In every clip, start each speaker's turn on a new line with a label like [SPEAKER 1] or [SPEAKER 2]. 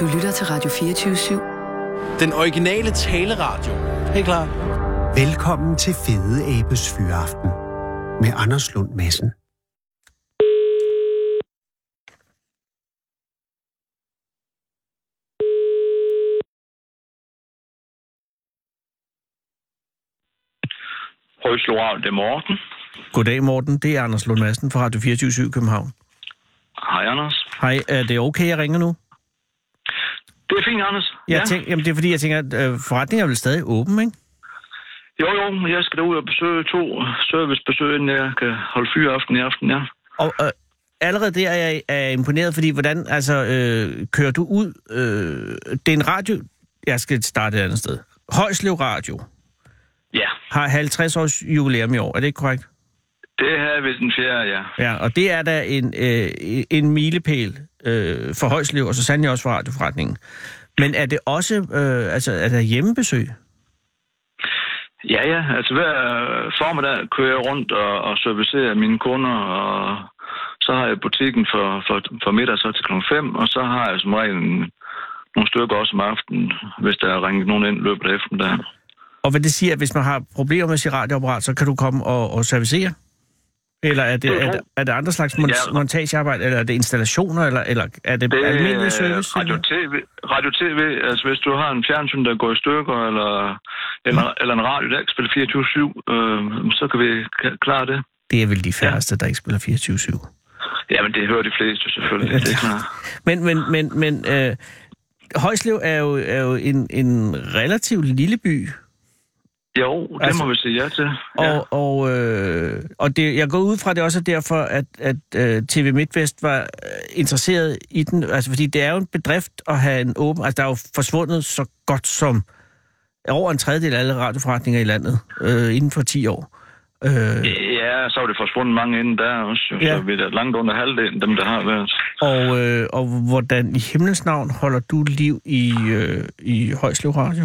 [SPEAKER 1] Du lytter til Radio 24 /7.
[SPEAKER 2] Den originale taleradio. Helt klar.
[SPEAKER 3] Velkommen til Fede Abes Fyraften med Anders Lund Madsen.
[SPEAKER 4] Højs Loral, det er Morten.
[SPEAKER 5] Goddag, Morten. Det er Anders Lund Madsen fra Radio 24 København.
[SPEAKER 4] Hej, Anders.
[SPEAKER 5] Hej, er det okay, jeg ringer nu?
[SPEAKER 4] Det er fint, Anders.
[SPEAKER 5] Jeg Tænk, jamen, det er fordi, jeg tænker, at øh, forretningen er vel stadig åben, ikke?
[SPEAKER 4] Jo, jo, men jeg skal derud og besøge to servicebesøg, inden jeg kan holde fyraften i aften, ja.
[SPEAKER 5] Og øh, allerede der er jeg er jeg imponeret, fordi hvordan, altså, øh, kører du ud? Øh, det er en radio... Jeg skal starte et andet sted. Højslev Radio
[SPEAKER 4] Ja,
[SPEAKER 5] har 50 års jubilæum i år, er det ikke korrekt?
[SPEAKER 4] det her er ved den fjerde, ja.
[SPEAKER 5] Ja, og det er da en, øh, en milepæl øh, for Højslev, og så sandelig også for radioforretningen. Men er det også, øh, altså, er der hjemmebesøg?
[SPEAKER 4] Ja, ja, altså hver øh, formiddag kører jeg rundt og, og servicerer mine kunder, og så har jeg butikken for, for, for middag så til kl. 5, og så har jeg som regel en- nogle stykker også om aftenen, hvis der er ringet nogen ind i løbet af eftermiddagen.
[SPEAKER 5] Og hvad det siger, at hvis man har problemer med sit radioapparat, så kan du komme og, og servicere? Eller er det,
[SPEAKER 4] Det
[SPEAKER 5] er,
[SPEAKER 4] tror-
[SPEAKER 5] det, er det andre slags mon-
[SPEAKER 4] Ja.
[SPEAKER 5] montagearbejde, eller er det installationer, eller, eller er
[SPEAKER 4] Det
[SPEAKER 5] det, det
[SPEAKER 4] er øh,
[SPEAKER 5] almindelig service?
[SPEAKER 4] Radio
[SPEAKER 5] eller?
[SPEAKER 4] TV, radio TV, altså hvis du har en fjernsyn, der går i stykker, eller, eller,
[SPEAKER 5] Mm.
[SPEAKER 4] eller en radio, der ikke spiller 24-7, øh, så kan vi k- klare det.
[SPEAKER 5] Det er vel de færreste, der ikke spiller 24-7.
[SPEAKER 4] Jamen, det hører de fleste selvfølgelig. Det er klart.
[SPEAKER 5] Men, men, men, men øh, Højslev er jo, er jo en, en relativt lille by,
[SPEAKER 4] Jo, det
[SPEAKER 5] Altså-
[SPEAKER 4] må vi sige ja til.
[SPEAKER 5] og,
[SPEAKER 4] Ja.
[SPEAKER 5] ja. og, øh, og det, jeg går ud fra, at det også er derfor, at, at øh, TV MidtVest var øh, interesseret i den. Altså, fordi det er jo en bedrift at have en åben... Altså, der er jo forsvundet så godt som over en tredjedel af alle radioforretninger i landet øh, inden for 10 år. Øh,
[SPEAKER 4] Ja, så er det forsvundet mange inden der også. jo.
[SPEAKER 5] Ja.
[SPEAKER 4] Så vi er da langt under halvdelen, dem der har været.
[SPEAKER 5] og, øh, og hvordan i himlens navn holder du liv i, øh, i Højslev Radio?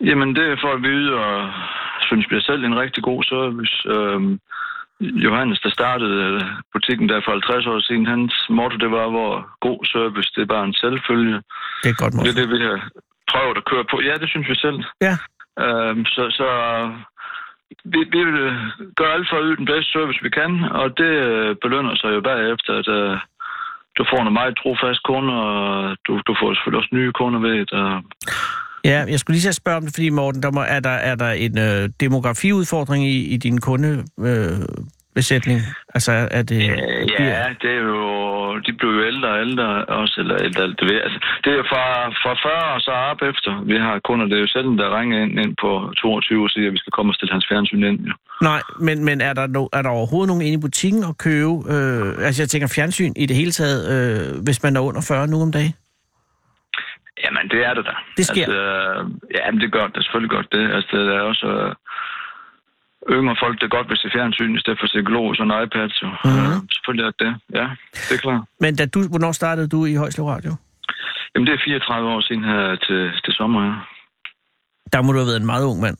[SPEAKER 4] Jamen, det får vi vide, og synes vi selv en rigtig god service. Øhm, Johannes, der startede øh, butikken der for 50 år siden, hans motto, det var, hvor god service, det er bare en selvfølge.
[SPEAKER 5] Det er godt,
[SPEAKER 4] Det er
[SPEAKER 5] Morten.
[SPEAKER 4] det, vi har prøvet at køre på. Ja, det synes vi selv.
[SPEAKER 5] Ja.
[SPEAKER 4] Øhm, så så vi, vi vil øh, gøre alt for at yde den bedste service, vi kan, og det øh, belønner sig jo bagefter, at øh, du får nogle meget trofaste kunder, og du, du får selvfølgelig også nye kunder ved det. Og
[SPEAKER 5] Ja, jeg skulle lige til at spørge om det, fordi Morten, der må, er, der, er der en øh, demografiudfordring i, i din kundebesætning? Øh, besætning? altså, er det...
[SPEAKER 4] Øh,
[SPEAKER 5] bliver-
[SPEAKER 4] Ja, det er jo... De blev jo ældre og ældre også, eller ældre, alt det ved. jeg. Altså, det er jo fra, fra 40 og så op efter. Vi har kunder, det er jo sjældent, der ringer ind, ind på 22 og siger, at vi skal komme og stille hans fjernsyn ind. Jo.
[SPEAKER 5] Nej, men, men er, der no, er der overhovedet nogen inde i butikken at købe? Øh, altså, jeg tænker fjernsyn i det hele taget, øh, hvis man er under 40 nu om dagen.
[SPEAKER 4] Jamen, det er det da.
[SPEAKER 5] Det sker.
[SPEAKER 4] Altså, øh, jamen, det gør det er selvfølgelig godt det. Altså, der er også... Øh, yngre folk, der godt vil se fjernsyn, i stedet for psykologer og en iPad. Så.
[SPEAKER 5] Mhm.
[SPEAKER 4] Øh, selvfølgelig er det det. Ja, det er klart.
[SPEAKER 5] Men da du, hvornår startede du i Højslev Radio?
[SPEAKER 4] Jamen, det er 34 år siden her til, til sommer. Ja.
[SPEAKER 5] Der må du have været en meget ung mand.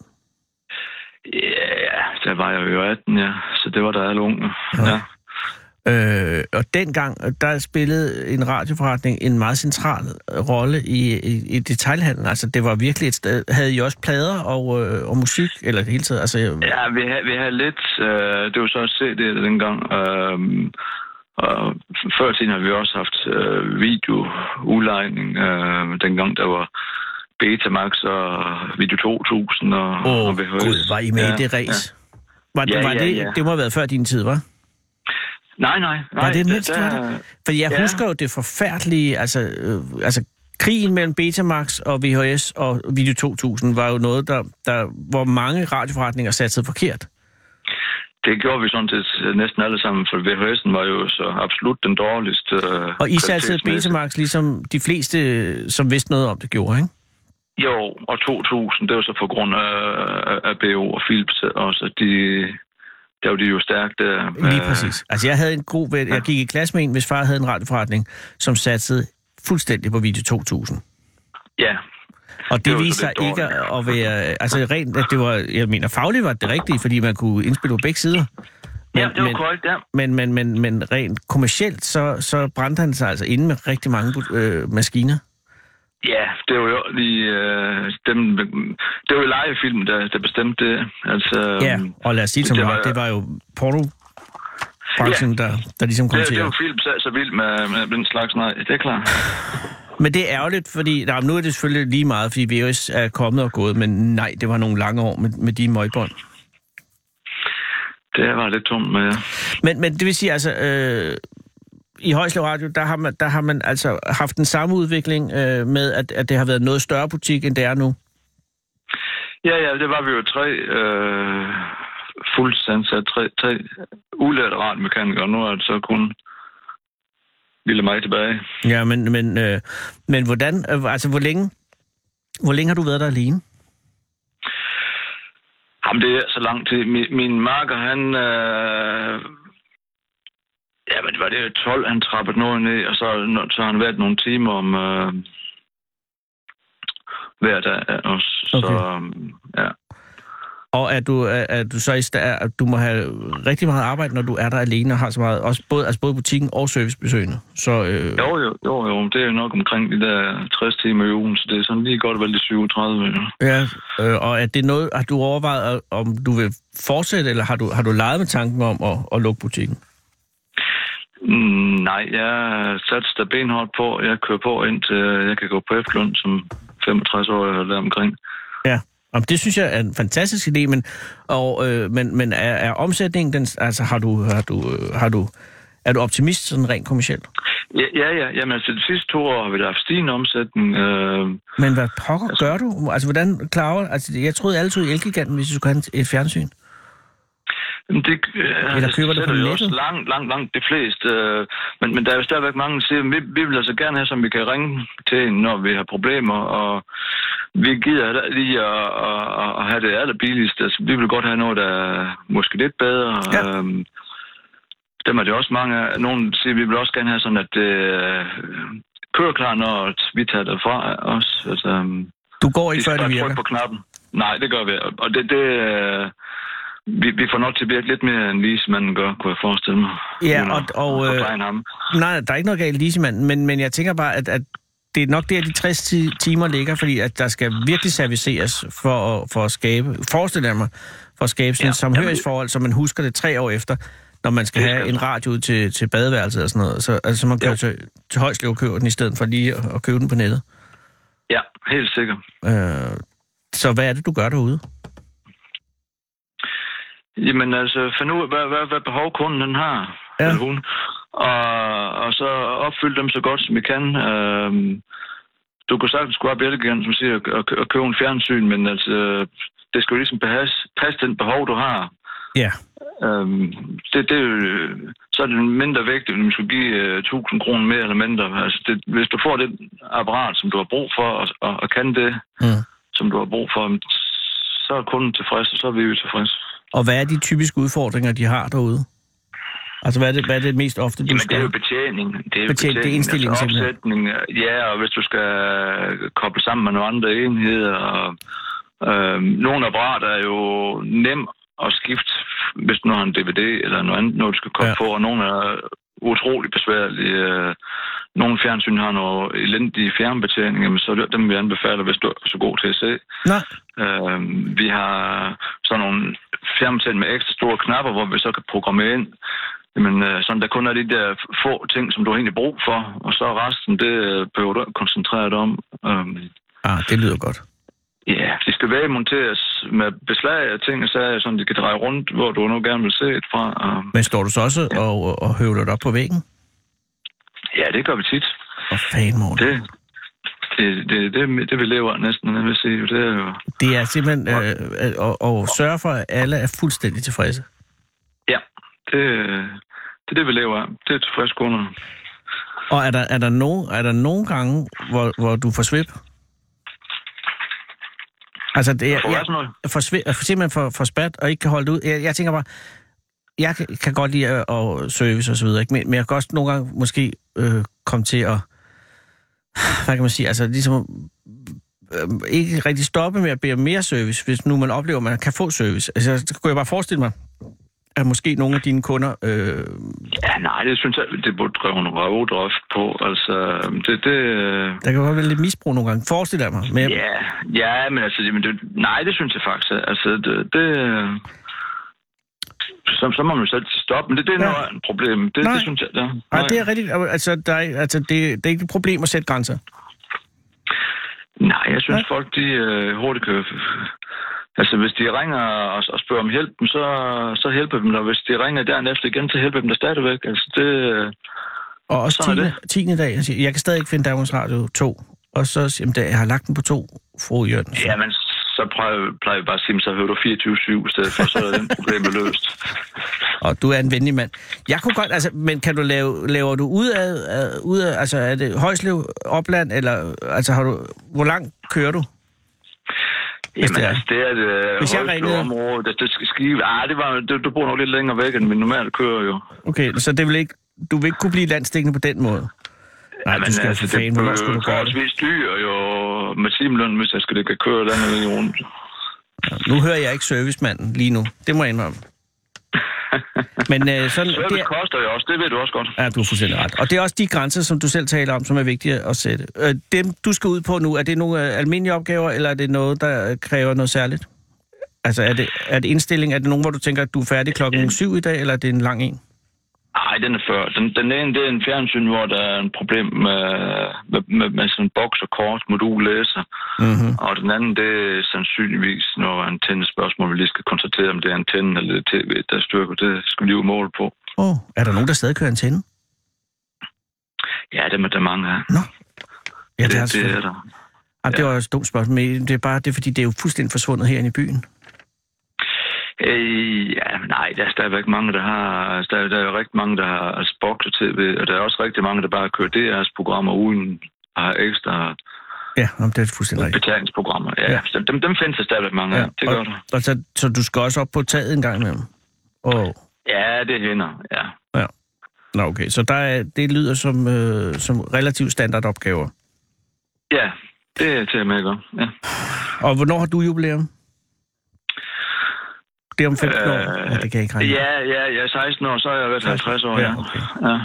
[SPEAKER 4] Ja, der var jeg jo 18, ja. Så det var der alle unge. Ja.
[SPEAKER 5] Øh, og dengang, der spillede en radioforretning en meget central øh, rolle i, i, i detailhandlen. Altså, det var virkelig et sted. Havde I også plader og, øh, og musik, eller det hele taget? Altså, ja.
[SPEAKER 4] Ja, vi havde, vi havde lidt... Øh, det var så også CD dengang. Øh, og før i tiden har vi også haft øh, videoudlejning. Øh, dengang der var Betamax og Video 2000 og,
[SPEAKER 5] Åh,
[SPEAKER 4] og
[SPEAKER 5] oh, gud, var I med ja, i det race? Ja. Var,
[SPEAKER 4] Ja,
[SPEAKER 5] ja, var
[SPEAKER 4] ja,
[SPEAKER 5] det,
[SPEAKER 4] ja.
[SPEAKER 5] det må have været før din tid, var?
[SPEAKER 4] Nej, nej. nej
[SPEAKER 5] Var det
[SPEAKER 4] der-
[SPEAKER 5] mindst, var
[SPEAKER 4] der-
[SPEAKER 5] det? Fordi jeg
[SPEAKER 4] ja.
[SPEAKER 5] ja. husker jo det forfærdelige, altså, øh, altså krigen mellem Betamax og VHS og Video 2000 var jo noget, der, der hvor mange radioforretninger satsede forkert.
[SPEAKER 4] Det gjorde vi sådan set næsten alle sammen, for VHS'en var jo så absolut den dårligste. Øh,
[SPEAKER 5] Og I satsede
[SPEAKER 4] kvalitetsmæssigt.
[SPEAKER 5] Betamax ligesom de fleste, øh, som vidste noget om det, gjorde, ikke?
[SPEAKER 4] Jo, og 2000, det var så på grund af, af BO og Philips også. De, der var de jo stærkt der.
[SPEAKER 5] Lige
[SPEAKER 4] Øh,
[SPEAKER 5] præcis. Altså, jeg havde en god ven, jeg gik i klasse med en, hvis far havde en radioforretning, som satsede fuldstændig på Video 2000.
[SPEAKER 4] Ja,
[SPEAKER 5] Og
[SPEAKER 4] Det
[SPEAKER 5] det,
[SPEAKER 4] var så
[SPEAKER 5] det viste sig
[SPEAKER 4] lidt
[SPEAKER 5] ikke
[SPEAKER 4] dårligt.
[SPEAKER 5] at være... Altså rent, at det var... Jeg mener, fagligt var det det rigtige, fordi man kunne indspille på begge sider.
[SPEAKER 4] ja, det var
[SPEAKER 5] men,
[SPEAKER 4] korrekt, ja.
[SPEAKER 5] men, men, men, men rent kommercielt, så, så brændte han sig altså inde med rigtig mange øh, maskiner.
[SPEAKER 4] Ja, det var jo lige øh, dem, det var jo legefilmen, der, der bestemte det. Altså,
[SPEAKER 5] Ja, og lad os sige det, som det
[SPEAKER 4] det
[SPEAKER 5] var,
[SPEAKER 4] var-
[SPEAKER 5] det var jo porno branchen, ja. der, der ligesom kom
[SPEAKER 4] det,
[SPEAKER 5] til.
[SPEAKER 4] det
[SPEAKER 5] at-
[SPEAKER 4] var film, så, så vild med, med den slags, nej, det er klart.
[SPEAKER 5] Men det er ærgerligt, fordi nej, nu er det selvfølgelig lige meget, fordi VHS er kommet og gået, men nej, det var nogle lange år med, med de møgbånd.
[SPEAKER 4] Det var lidt tomt med, ja.
[SPEAKER 5] Men, men det vil sige altså, øh, i Højslev Radio, der har, man, der har man altså haft den samme udvikling øh, med, at, at det har været noget større butik, end det er nu.
[SPEAKER 4] Ja, ja, det var vi jo tre øh, fuldstændig tre, tre ulærte radmekanikere. Nu er det så kun lille mig tilbage.
[SPEAKER 5] Ja, men, men, øh, men hvordan, øh, altså hvor længe, hvor længe har du været der alene?
[SPEAKER 4] Jamen, det er så lang tid. Min, min marker, han... Øh, jamen, det var det 12, han trappede noget ned, og så, nå- så har han været nogle timer om øh, hver dag. Og så, øhm,
[SPEAKER 5] Okay.
[SPEAKER 4] ja.
[SPEAKER 5] Og er du, er, er du så i stand, at du må have rigtig meget arbejde, når du er der alene og har så meget, også både, altså både butikken og servicebesøgende. Så, øh,
[SPEAKER 4] Jo, jo, jo, jo. Det er jo nok omkring de der 60 timer i ugen, så det er sådan lige godt vel de 37. Ja.
[SPEAKER 5] Ja, øh, og er det noget, har du overvejet, øh, om du vil fortsætte, eller har du, har du leget med tanken om at, at lukke butikken?
[SPEAKER 4] Mm, nej, jeg satser da benhårdt på. Jeg kører på indtil øh, jeg kan gå på efterløn som 65 år eller deromkring.
[SPEAKER 5] Ja. Jamen, det synes jeg er en fantastisk idé, men, og, øh, men, men er, er omsætningen, den, altså har du, har du, øh, har du, er du optimist sådan rent kommercielt?
[SPEAKER 4] Ja, ja, ja. Jamen, altså, de sidste to år har vi da haft stigende omsætning. Øh,
[SPEAKER 5] Men hvad pokker gør du? Altså, hvordan klarer altså, jeg troede alle tog i Elgiganten, hvis du skulle have en- et fjernsyn.
[SPEAKER 4] jamen, det, øh,
[SPEAKER 5] Eller køber det
[SPEAKER 4] sætter
[SPEAKER 5] på
[SPEAKER 4] jo
[SPEAKER 5] nettet?
[SPEAKER 4] også langt, langt, langt de fleste. Øh, men, men der er jo stadigvæk mange, der siger, vi, vi vil altså gerne have, som vi kan ringe til, når vi har problemer, og vi gider heller ikke lige at, at, at- at have det allerbilligste. Altså, vi vil godt have noget, der er måske lidt bedre.
[SPEAKER 5] Ja.
[SPEAKER 4] Øhm, dem er det også mange af. Nogle siger, vi vil også gerne have sådan, at det øh, kører klar, når vi tager det fra os. Altså, øhm,
[SPEAKER 5] Du går ikke, før
[SPEAKER 4] skal
[SPEAKER 5] det
[SPEAKER 4] bare
[SPEAKER 5] virker.
[SPEAKER 4] trykke på knappen. Nej, det gør vi. Og det, det øh, vi, vi får nok til at virke lidt mere, end ligesmanden gør, kunne jeg forestille mig.
[SPEAKER 5] Ja,
[SPEAKER 4] Uden at-
[SPEAKER 5] og- og,
[SPEAKER 4] at
[SPEAKER 5] øh,
[SPEAKER 4] forklejne ham.
[SPEAKER 5] Nej, der er ikke noget galt i lisemanden, men, men jeg tænker bare, at, at det er nok der, de 60 ti- timer ligger, fordi at der skal virkelig serviceres for at, for at skabe, forestiller jeg mig, for at skabe sådan ja,
[SPEAKER 4] Ja,
[SPEAKER 5] et samhørighedsforhold, så man husker det tre år efter, når man skal
[SPEAKER 4] Det
[SPEAKER 5] have
[SPEAKER 4] skal
[SPEAKER 5] en radio ud til, til badeværelset og sådan noget. Så altså, man kører
[SPEAKER 4] Jo.
[SPEAKER 5] til, til Højslev og køber den, i stedet for lige at, at købe den på nettet.
[SPEAKER 4] Ja, helt sikkert.
[SPEAKER 5] Øh, så hvad er det, du gør derude?
[SPEAKER 4] Jamen altså, find ud af, hvad, hvad, hvad behov kunden den har,
[SPEAKER 5] Ja.
[SPEAKER 4] ja. eller hun. Og, og så opfylde dem så godt, som vi kan. Øhm, du kunne sagtens gå op i Elgiganten, som siger, og, og købe en fjernsyn, men altså, det skal jo ligesom passe, passe den behov, du har.
[SPEAKER 5] Ja,
[SPEAKER 4] Øhm, det, det, er jo- så er det mindre vægt, at man skulle give øh, 1000 kroner mere eller mindre. Altså det, hvis du får det apparat, som du har brug for, og, og, og kan det,
[SPEAKER 5] Mm.
[SPEAKER 4] mm. som du har brug for, jamen, så er kunden tilfreds, og så er vi jo tilfreds.
[SPEAKER 5] og hvad er de typiske udfordringer, de har derude? Altså, hvad er det, hvad er det mest ofte, du
[SPEAKER 4] Jamen, det
[SPEAKER 5] skal?
[SPEAKER 4] er jo betjening. Det er, jo
[SPEAKER 5] Betjening, det er indstillingen
[SPEAKER 4] altså
[SPEAKER 5] simpelthen.
[SPEAKER 4] opsætning. Ja, og hvis du skal koble sammen med nogle andre enheder. Og, øh, nogle apparater er jo nem at skifte, hvis du nu har en DVD eller noget andet, noget du skal koble
[SPEAKER 5] Ja.
[SPEAKER 4] ja. på. Og nogle er utrolig besværlige. Øh, Nogle fjernsyn har nogle elendige fjernbetjeninger, men så er det dem, vi anbefaler, hvis du er så god til at se.
[SPEAKER 5] Nej,
[SPEAKER 4] Øh, vi har sådan nogle fjernbetjent med ekstra store knapper, hvor vi så kan programmere ind, jamen, øh, sådan der kun er de der få ting, som du har egentlig brug for, og så resten, det øh, behøver du ikke koncentrere dig om. Øh,
[SPEAKER 5] ah, det lyder godt.
[SPEAKER 4] Ja, de skal være monteres med beslag af ting, og så sådan, de kan dreje rundt, hvor du nu gerne vil se et fra. Øhm, Og,
[SPEAKER 5] Men står du så også og, og, og høvler det op på væggen?
[SPEAKER 4] ja, det gør vi tit.
[SPEAKER 5] Og fan, Morten.
[SPEAKER 4] Det, det, det, det, det vi lever af næsten, jeg vil sige. Det er jo...
[SPEAKER 5] Det er simpelthen øh, at, at, at sørge for, at alle er fuldstændig tilfredse.
[SPEAKER 4] Ja, det, det er det, vi lever af. Det er tilfreds kunder.
[SPEAKER 5] Og er der, er der, no, er der nogle gange, hvor, hvor du får svip? Altså, det er,
[SPEAKER 4] Får jeg sådan noget?
[SPEAKER 5] for, svip, for simpelthen for, for spat og ikke kan holde det ud. Jeg, jeg tænker bare, jeg kan, kan godt lide at, at service og så videre, ikke? Men, men jeg kan også nogle gange måske øh, komme til at, hvad kan man sige, altså ligesom øh, ikke rigtig stoppe med at bede om mere service, hvis nu man oplever, at man kan få service. Altså, så kunne jeg bare forestille mig, at måske nogle af dine kunder... Øh,
[SPEAKER 4] Ja, nej, det synes jeg, det burde drive en røvdrift på. Altså, det, det, øh,
[SPEAKER 5] der kan godt være lidt misbrug nogle gange, forestiller jeg mig. Men, yeah.
[SPEAKER 4] Ja, ja, men altså, men det, nej, det synes jeg faktisk. Altså, det, det øh, så, så må man jo selv stoppe, men det, det er
[SPEAKER 5] Ja.
[SPEAKER 4] noget andet problem. Det,
[SPEAKER 5] Nej.
[SPEAKER 4] det synes jeg, ja.
[SPEAKER 5] Ej, det er rigtigt. Altså, der er, altså det, det er ikke et problem at sætte grænser.
[SPEAKER 4] nej, jeg synes
[SPEAKER 5] Nej.
[SPEAKER 4] folk, de øh, hurtigt kan... Altså, hvis de ringer og, og spørger om hjælp, så, så hjælper vi dem, og hvis de ringer dernæste igen, så hjælper vi dem der stadigvæk. Altså, det, øh,
[SPEAKER 5] Og også
[SPEAKER 4] Sådan er
[SPEAKER 5] 10. 10. dag, jeg, siger, jeg kan stadig ikke finde Danmarks Radio 2. Og så siger jeg, jeg har lagt den på to, fru Jørgensen.
[SPEAKER 4] jamen, så plejer, plejer vi bare at sige, "Men så hører du 24-7 i stedet for, så er den problem løst.
[SPEAKER 5] Og du er en venlig mand. Jeg kunne godt, altså, men kan du lave, laver du ud af, af- ud af, altså er det Højslev, Opland, eller altså har du, hvor langt kører du?
[SPEAKER 4] Jamen,
[SPEAKER 5] det er.
[SPEAKER 4] altså, det er det
[SPEAKER 5] Hvis jeg ringede-
[SPEAKER 4] højeste område. Det, det skal skive. Ah, det var, det, du bor nok lidt længere væk, end vi normalt kører jo.
[SPEAKER 5] Okay, så det vil ikke, du vil ikke kunne blive landstækkende på den måde? Nej,
[SPEAKER 4] Jamen,
[SPEAKER 5] du skal altså, for fanden, hvornår skulle du gøre det?
[SPEAKER 4] det? dyr jo med timeløn, hvis jeg skal det kan køre landet lige rundt.
[SPEAKER 5] Nu hører jeg ikke servicemanden lige nu. Det må jeg indrømme. Men øh, sådan,
[SPEAKER 4] Service
[SPEAKER 5] det
[SPEAKER 4] det
[SPEAKER 5] er,
[SPEAKER 4] koster jo også, det ved du også godt.
[SPEAKER 5] Ja, du har fuldstændig ret. Og det er også de grænser, som du selv taler om, som er vigtige at sætte. Øh, dem, du skal ud på nu, er det nogle øh, almindelige opgaver, eller er det noget, der øh, kræver noget særligt? Altså, er det, er det indstilling? Er det nogen, hvor du tænker, at du er færdig klokken syv i dag, eller er det en lang en?
[SPEAKER 4] Nej, den er før. Den, den ene, det er en fjernsyn, hvor der er en problem med, med, med, med sådan en boks og kort modullæser.
[SPEAKER 5] Mm-hmm.
[SPEAKER 4] Og den anden, det er sandsynligvis noget antennespørgsmål, vi lige skal konstatere, om det er antennen eller det er tv, der styrker. Det skal vi lige måle på.
[SPEAKER 5] Oh, er der nogen, der stadig kører antenne?
[SPEAKER 4] Ja, dem er der mange af.
[SPEAKER 5] Nå. Ja, det,
[SPEAKER 4] det,
[SPEAKER 5] er,
[SPEAKER 4] det, det er
[SPEAKER 5] det,
[SPEAKER 4] der.
[SPEAKER 5] Jamen, det var også et dumt spørgsmål, men det er bare det, er, fordi det er jo fuldstændig forsvundet herinde i byen.
[SPEAKER 4] Øh, ja, nej, der er stadigvæk mange, der har... altså, Der, er- der er jo rigtig mange, der har altså, box og tv, og der er også rigtig mange, der bare kører DR's programmer uden at have ekstra
[SPEAKER 5] Ja, jamen, det er fuldstændig rigtigt.
[SPEAKER 4] betalingsprogrammer. Ja,
[SPEAKER 5] Ja.
[SPEAKER 4] ja. Så dem, dem findes der stadigvæk mange af. Ja. Det gør
[SPEAKER 5] og,
[SPEAKER 4] der.
[SPEAKER 5] og så, så du skal også op på taget en gang imellem? Og,
[SPEAKER 4] Ja, det hænder, ja.
[SPEAKER 5] Ja. Nå, okay. Så der er, det lyder som, øh, som relativt standardopgaver.
[SPEAKER 4] Ja, det er til at med at gøre. Ja.
[SPEAKER 5] Og hvornår har du jubilæum? Det er om 15 år?
[SPEAKER 4] Øh,
[SPEAKER 5] Ja, det kan jeg ikke regne. ud.
[SPEAKER 4] ja, ja, jeg er 16 år, så er jeg været 50 år, ja.
[SPEAKER 5] Ja, okay.
[SPEAKER 4] ja.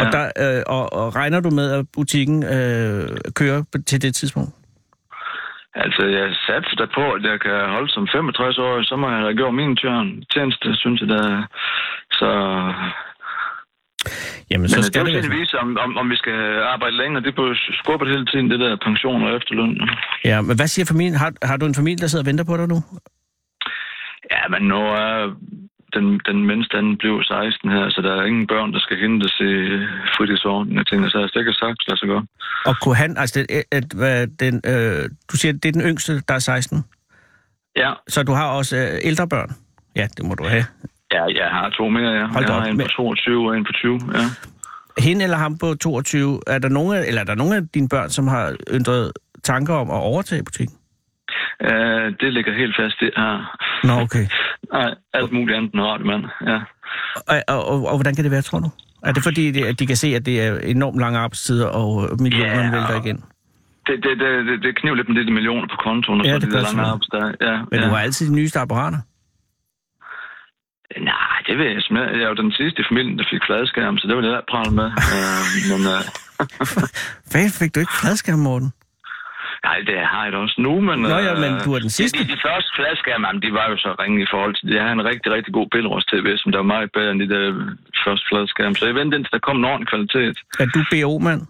[SPEAKER 5] Og, der, øh, og, og regner du med, at butikken øh, kører på- til det tidspunkt?
[SPEAKER 4] Altså, jeg satser da på, at jeg kan holde som 65 år, så må jeg da gøre min tjern. Tjeneste, synes jeg da. Så
[SPEAKER 5] Jamen,
[SPEAKER 4] Men
[SPEAKER 5] så
[SPEAKER 4] så det er
[SPEAKER 5] skal
[SPEAKER 4] jo
[SPEAKER 5] det
[SPEAKER 4] til at
[SPEAKER 5] være.
[SPEAKER 4] vise, om, om, om vi skal arbejde længere. Det bliver skubbet hele tiden, det der pension og efterløn.
[SPEAKER 5] Ja, men hvad siger familien? Har, har du en familie, der sidder og venter på dig nu?
[SPEAKER 4] Ja, men nu er den, den mindste anden blev 16 her, så der er ingen børn, der skal hentes i fritidsordningen og ting. Så altså, det kan sagt lade sig gøre.
[SPEAKER 5] Og kunne han, altså, det, at, at, hvad den, øh, du siger, det er den yngste, der er 16.
[SPEAKER 4] Ja,
[SPEAKER 5] Så du har også øh, ældre børn? Ja, det må du have.
[SPEAKER 4] ja, jeg har to mere, ja.
[SPEAKER 5] Hold da
[SPEAKER 4] jeg
[SPEAKER 5] op,
[SPEAKER 4] har en på
[SPEAKER 5] men-
[SPEAKER 4] 22 og en på 20, ja.
[SPEAKER 5] hende eller ham på 22, er der nogen, af- eller er der nogen af dine børn, som har yndret tanker om at overtage butikken?
[SPEAKER 4] Uh, det ligger helt fast, det her.
[SPEAKER 5] Nå, okay.
[SPEAKER 4] Nej, alt muligt andet end radio, mand. Ja.
[SPEAKER 5] Og, og, og, og hvordan kan det være, tror du? Er det fordi, det- at de kan se, at det er enormt lange arbejdstider, og øh, millionerne
[SPEAKER 4] Ja,
[SPEAKER 5] vælter
[SPEAKER 4] og-
[SPEAKER 5] igen?
[SPEAKER 4] Det, det, det, det, det kniver lidt med det, de millioner på kontoen, og
[SPEAKER 5] Ja,
[SPEAKER 4] ja, så
[SPEAKER 5] det
[SPEAKER 4] det de der
[SPEAKER 5] passer
[SPEAKER 4] lange
[SPEAKER 5] vel.
[SPEAKER 4] arbejdsdage. Ja,
[SPEAKER 5] Men
[SPEAKER 4] ja.
[SPEAKER 5] du har altid de nyeste apparater.
[SPEAKER 4] Nej, det ved jeg simpelthen. ikke. Jeg var den sidste i familien, der fik fladskærm, så det var det, jeg ikke prale med. øh, men øh,
[SPEAKER 5] Hvad fik du ikke fladskærm, Morten?
[SPEAKER 4] nej, det har jeg da også nu, men...
[SPEAKER 5] Nå ja,
[SPEAKER 4] øh,
[SPEAKER 5] men du er den sidste.
[SPEAKER 4] De, de første fladskærm, jamen, de var jo så ringe i forhold til... Jeg har en rigtig, rigtig god Billerøds TV, som der var meget bedre end de der første fladskærm. Så jeg ventede indtil der kom en ordentlig kvalitet.
[SPEAKER 5] Er du BO-mand?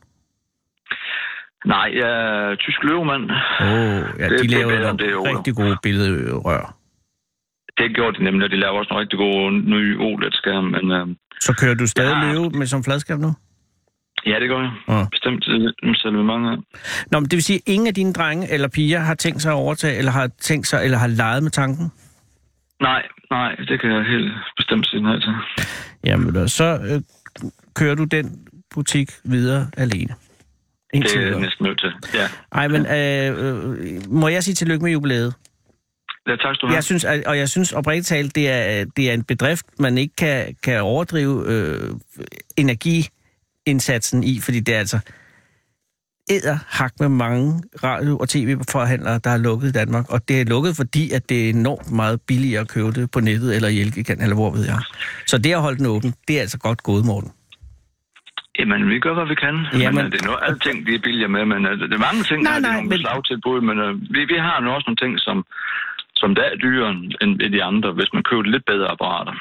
[SPEAKER 4] Nej, jeg er tysk løvemand.
[SPEAKER 5] Åh, oh, ja,
[SPEAKER 4] Det-
[SPEAKER 5] de
[SPEAKER 4] det er
[SPEAKER 5] laver
[SPEAKER 4] bedre,
[SPEAKER 5] nogle
[SPEAKER 4] det er jo-
[SPEAKER 5] rigtig gode billedrør.
[SPEAKER 4] Det gjorde de nemlig, og de laver også nogle rigtig gode nye OLED-skærme, men... Øh,
[SPEAKER 5] Så kører du stadig
[SPEAKER 4] Ja.
[SPEAKER 5] løve med som fladskærm nu?
[SPEAKER 4] ja, det gør jeg.
[SPEAKER 5] Ja.
[SPEAKER 4] Bestemt øh, selv med mange af.
[SPEAKER 5] Nå, men det vil sige, at ingen af dine drenge eller piger har tænkt sig at overtage, eller har tænkt sig, eller har leget med tanken?
[SPEAKER 4] Nej, nej, det kan jeg helt bestemt sige nej til.
[SPEAKER 5] Jamen, og så øh, kører du den butik videre alene. Indtil
[SPEAKER 4] Det er jeg
[SPEAKER 5] videre.
[SPEAKER 4] næsten nødt til. Ja,
[SPEAKER 5] Ej, men øh, øh, må jeg sige tillykke med jubilæet?
[SPEAKER 4] ja tak skal du have.
[SPEAKER 5] Jeg synes, at- og jeg synes oprigtigt talt, det er, det er en bedrift, man ikke kan, kan overdrive øh, energiindsatsen i, fordi det er altså... æderhak med mange radio- og tv-forhandlere, der har lukket i Danmark. Og det er lukket, fordi at det er enormt meget billigere at købe det på nettet eller i Elgigan, eller hvor ved jeg. Så det at holde den åben, det er altså godt gået, Morten.
[SPEAKER 4] Jamen, vi gør, hvad vi kan.
[SPEAKER 5] Jamen.
[SPEAKER 4] Jamen. Men, øh, det er nu alle ting, de er billigere med, men øh, der er mange ting,
[SPEAKER 5] Nej,
[SPEAKER 4] der er
[SPEAKER 5] nej,
[SPEAKER 4] nogle
[SPEAKER 5] men-
[SPEAKER 4] slagtilbud, men øh, vi, vi har nu også nogle ting, som, som der er dyrere end end de andre, hvis man køber lidt bedre apparater.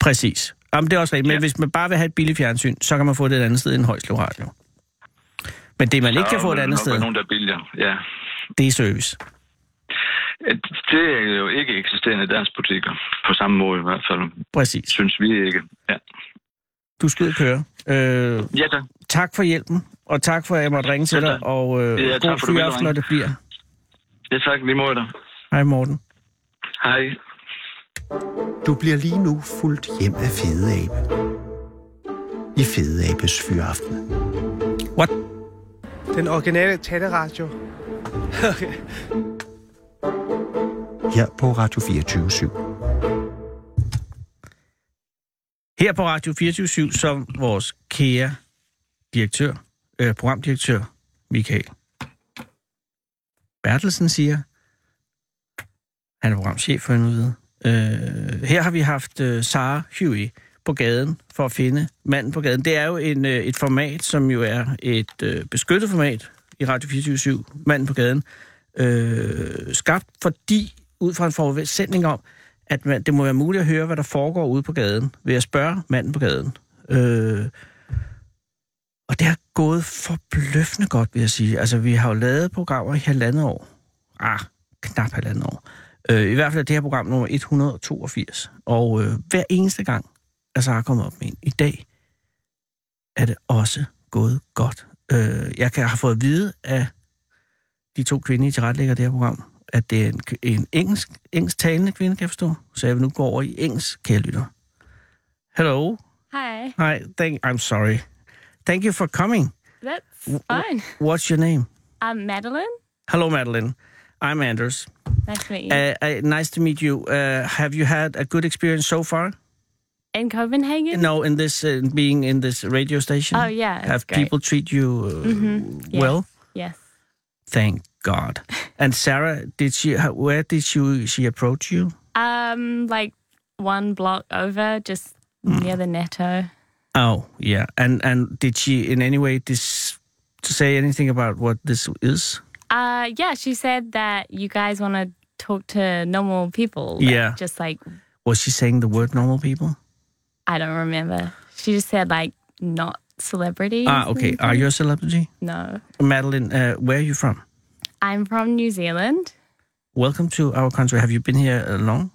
[SPEAKER 5] Præcis. Jamen, det er også rigtigt. Men ja. hvis man bare vil have et billigt fjernsyn, så kan man få det et andet sted end Højslev Radio. Men det, man ikke kan
[SPEAKER 4] Der
[SPEAKER 5] få
[SPEAKER 4] er
[SPEAKER 5] et
[SPEAKER 4] jo
[SPEAKER 5] andet
[SPEAKER 4] nok
[SPEAKER 5] sted,
[SPEAKER 4] nogen, der er billigere, ja.
[SPEAKER 5] det er service.
[SPEAKER 4] Øh, Det er jo ikke eksisterende i deres butikker, på samme måde i hvert fald,
[SPEAKER 5] Præcis.
[SPEAKER 4] synes vi ikke. Ja,
[SPEAKER 5] Du skal ud og køre. Øh,
[SPEAKER 4] ja tak.
[SPEAKER 5] tak for hjælpen, og tak for, at jeg måtte ringe til
[SPEAKER 4] Selv
[SPEAKER 5] dig,
[SPEAKER 4] tak.
[SPEAKER 5] og øh,
[SPEAKER 4] Ja,
[SPEAKER 5] ja,
[SPEAKER 4] tak
[SPEAKER 5] god
[SPEAKER 4] for, du ville
[SPEAKER 5] fyraften, når
[SPEAKER 4] ringe.
[SPEAKER 5] det bliver.
[SPEAKER 4] Ja, tak. Vi må dig.
[SPEAKER 5] Hej, Morten.
[SPEAKER 4] Hej.
[SPEAKER 3] Du bliver lige nu fuldt hjem af Fede Abe. I Fede Abes Fyraften.
[SPEAKER 5] What?
[SPEAKER 1] Den originale taleradio.
[SPEAKER 3] Her på Radio 24 /7.
[SPEAKER 5] Her på Radio 24 som vores kære direktør, øh, programdirektør, Michael Bertelsen siger, han er programchef for nu ved. Øh, her har vi haft øh, Sara Huey på gaden for at finde manden på gaden. Det er jo en, øh, et format, som jo er et øh, beskyttet format i Radio 24 manden på gaden, øh, skabt fordi, ud fra en forudsætning om, at man, det må være muligt at høre, hvad der foregår ude på gaden, ved at spørge manden på gaden. Øh, og det har gået forbløffende godt, vil jeg sige. Altså, vi har jo lavet programmer i halvandet år. Ah, knap halvandet år. Øh, I hvert fald er det her program nummer 182. Og øh, hver eneste gang, altså har kommet op med en i dag, er det også gået godt. Øh, jeg kan, har fået at vide af de to kvinder, der retlægger det her program, at det er en, k- en engelsk, engelsk talende kvinde, kan jeg forstå. Så jeg vil nu gå over i engelsk, kære lytter. Hello.
[SPEAKER 6] Hi,
[SPEAKER 5] Hi. Thank, I'm sorry. Thank you for coming.
[SPEAKER 6] that's fine.
[SPEAKER 5] What's your name?
[SPEAKER 6] I'm Madeline.
[SPEAKER 5] Hello, Madeline. I'm Anders.
[SPEAKER 6] Nice to meet you.
[SPEAKER 5] Uh, uh, nice to meet you. Uh, have you had a good experience so far?
[SPEAKER 6] In Copenhagen?
[SPEAKER 5] No, in this uh, being in this radio station.
[SPEAKER 6] Oh, yeah, it's
[SPEAKER 5] Have
[SPEAKER 6] great. Mm-hmm.
[SPEAKER 5] people treat you uh,
[SPEAKER 6] yeah.
[SPEAKER 5] well?
[SPEAKER 6] Yes.
[SPEAKER 5] Thank God. and Sarah, did she? how- Where did she? She approach you?
[SPEAKER 6] Um, like one block over, just
[SPEAKER 5] Mm.
[SPEAKER 6] near the Netto.
[SPEAKER 5] Oh, yeah. And and did she in any way dis- to say anything about what this is?
[SPEAKER 6] Uh, yeah, she said that you guys want to talk to normal people. like,
[SPEAKER 5] Yeah.
[SPEAKER 6] Just like,
[SPEAKER 5] Was she saying the word normal people?
[SPEAKER 6] I don't remember. She just said, like, not celebrities.
[SPEAKER 5] Ah, okay. Are you a celebrity?
[SPEAKER 6] No.
[SPEAKER 5] Madeline, uh, where are you from?
[SPEAKER 6] I'm from New Zealand.
[SPEAKER 5] Welcome to our country. Have you been here uh, long?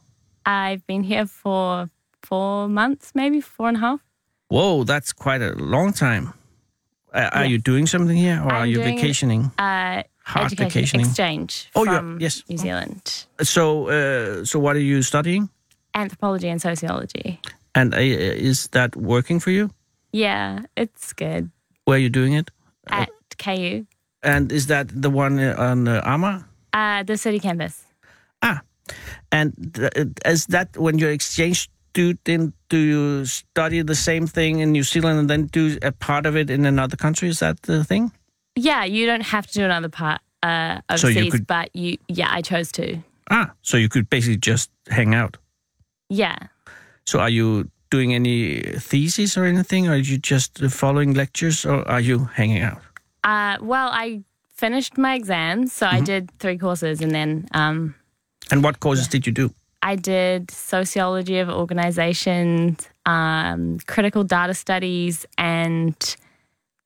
[SPEAKER 6] I've been here for four months, maybe four and a half.
[SPEAKER 5] Whoa, that's quite a long time. Uh, are you doing something here or are
[SPEAKER 6] I'm
[SPEAKER 5] you
[SPEAKER 6] doing-
[SPEAKER 5] vacationing?
[SPEAKER 6] Uh,
[SPEAKER 5] Hard
[SPEAKER 6] education
[SPEAKER 5] vacationing.
[SPEAKER 6] exchange
[SPEAKER 5] Oh, yeah,
[SPEAKER 6] from
[SPEAKER 5] yes.
[SPEAKER 6] New Zealand.
[SPEAKER 5] So, uh, so what are you studying?
[SPEAKER 6] anthropology and sociology.
[SPEAKER 5] And uh, is that working for you?
[SPEAKER 6] Yeah, it's good.
[SPEAKER 5] Where are you doing it?
[SPEAKER 6] At KU,
[SPEAKER 5] And is that the one uh, on uh, Ama?
[SPEAKER 6] uh, the city campus.
[SPEAKER 5] Ah, and th- is that when you're exchange student, do you study the same thing in New Zealand and then do a part of it in another country? Is that the thing?
[SPEAKER 6] Yeah, you don't have to do another part uh, overseas,
[SPEAKER 5] So you could-
[SPEAKER 6] but you, yeah, I chose to.
[SPEAKER 5] Ah, so you could basically just hang out.
[SPEAKER 6] Yeah.
[SPEAKER 5] So are you doing any thesis or anything, or are you just following lectures, or are you hanging out?
[SPEAKER 6] Uh, well, I finished my exams, so
[SPEAKER 5] Mm-hmm.
[SPEAKER 6] I did three courses, and then um,
[SPEAKER 5] And what courses did you do?
[SPEAKER 6] I did sociology of organizations, um, critical data studies, and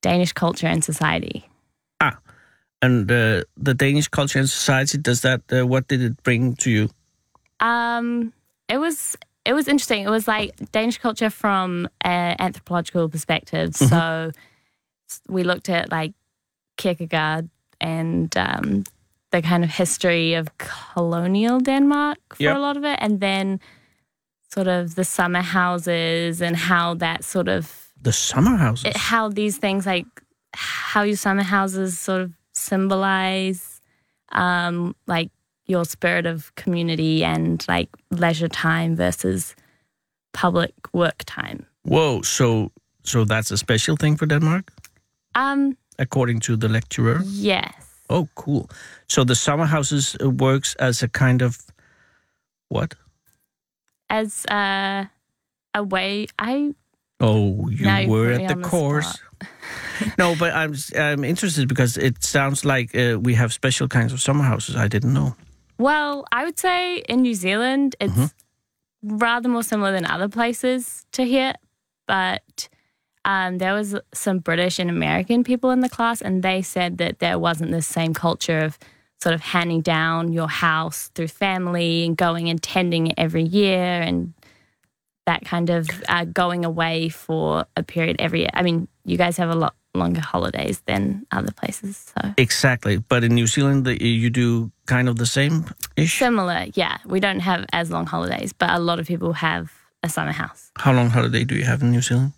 [SPEAKER 6] Danish culture and society.
[SPEAKER 5] And uh, the Danish culture and society does that. Uh, what did it bring to you?
[SPEAKER 6] Um, it was it was interesting. It was like Danish culture from an anthropological perspective. So s- we looked at like Kierkegaard and um, the kind of history of colonial Denmark for
[SPEAKER 5] Yep.
[SPEAKER 6] a lot of it, and then sort of the summer houses and how that sort of
[SPEAKER 5] The summer houses.
[SPEAKER 6] it, how these things like how your summer houses sort of symbolize um, like your spirit of community and like leisure time versus public work time.
[SPEAKER 5] Whoa! So, so that's a special thing for Denmark.
[SPEAKER 6] Um,
[SPEAKER 5] according to the lecturer.
[SPEAKER 6] Yes.
[SPEAKER 5] Oh, cool. So the summer houses uh, works as a kind of what?
[SPEAKER 6] As uh, a way, I
[SPEAKER 5] Oh, you
[SPEAKER 6] Now you
[SPEAKER 5] were
[SPEAKER 6] put me
[SPEAKER 5] at the
[SPEAKER 6] on the
[SPEAKER 5] course. no, but I'm s- I'm interested because it sounds like uh, we have special kinds of summer houses. I didn't know.
[SPEAKER 6] well, I would say in New Zealand it's rather more similar than other places to here, but um, there was some British and American people in the class, and they said that there wasn't this same culture of sort of handing down your house through family and going and tending it every year and that kind of uh, going away for a period every year. I mean, you guys have a lot longer holidays than other places, so.
[SPEAKER 5] Exactly, but in New Zealand the, you do kind of the same ish.
[SPEAKER 6] Similar, yeah. We don't have as long holidays, but a lot of people have a summer house.
[SPEAKER 5] How long holiday do you have in New Zealand?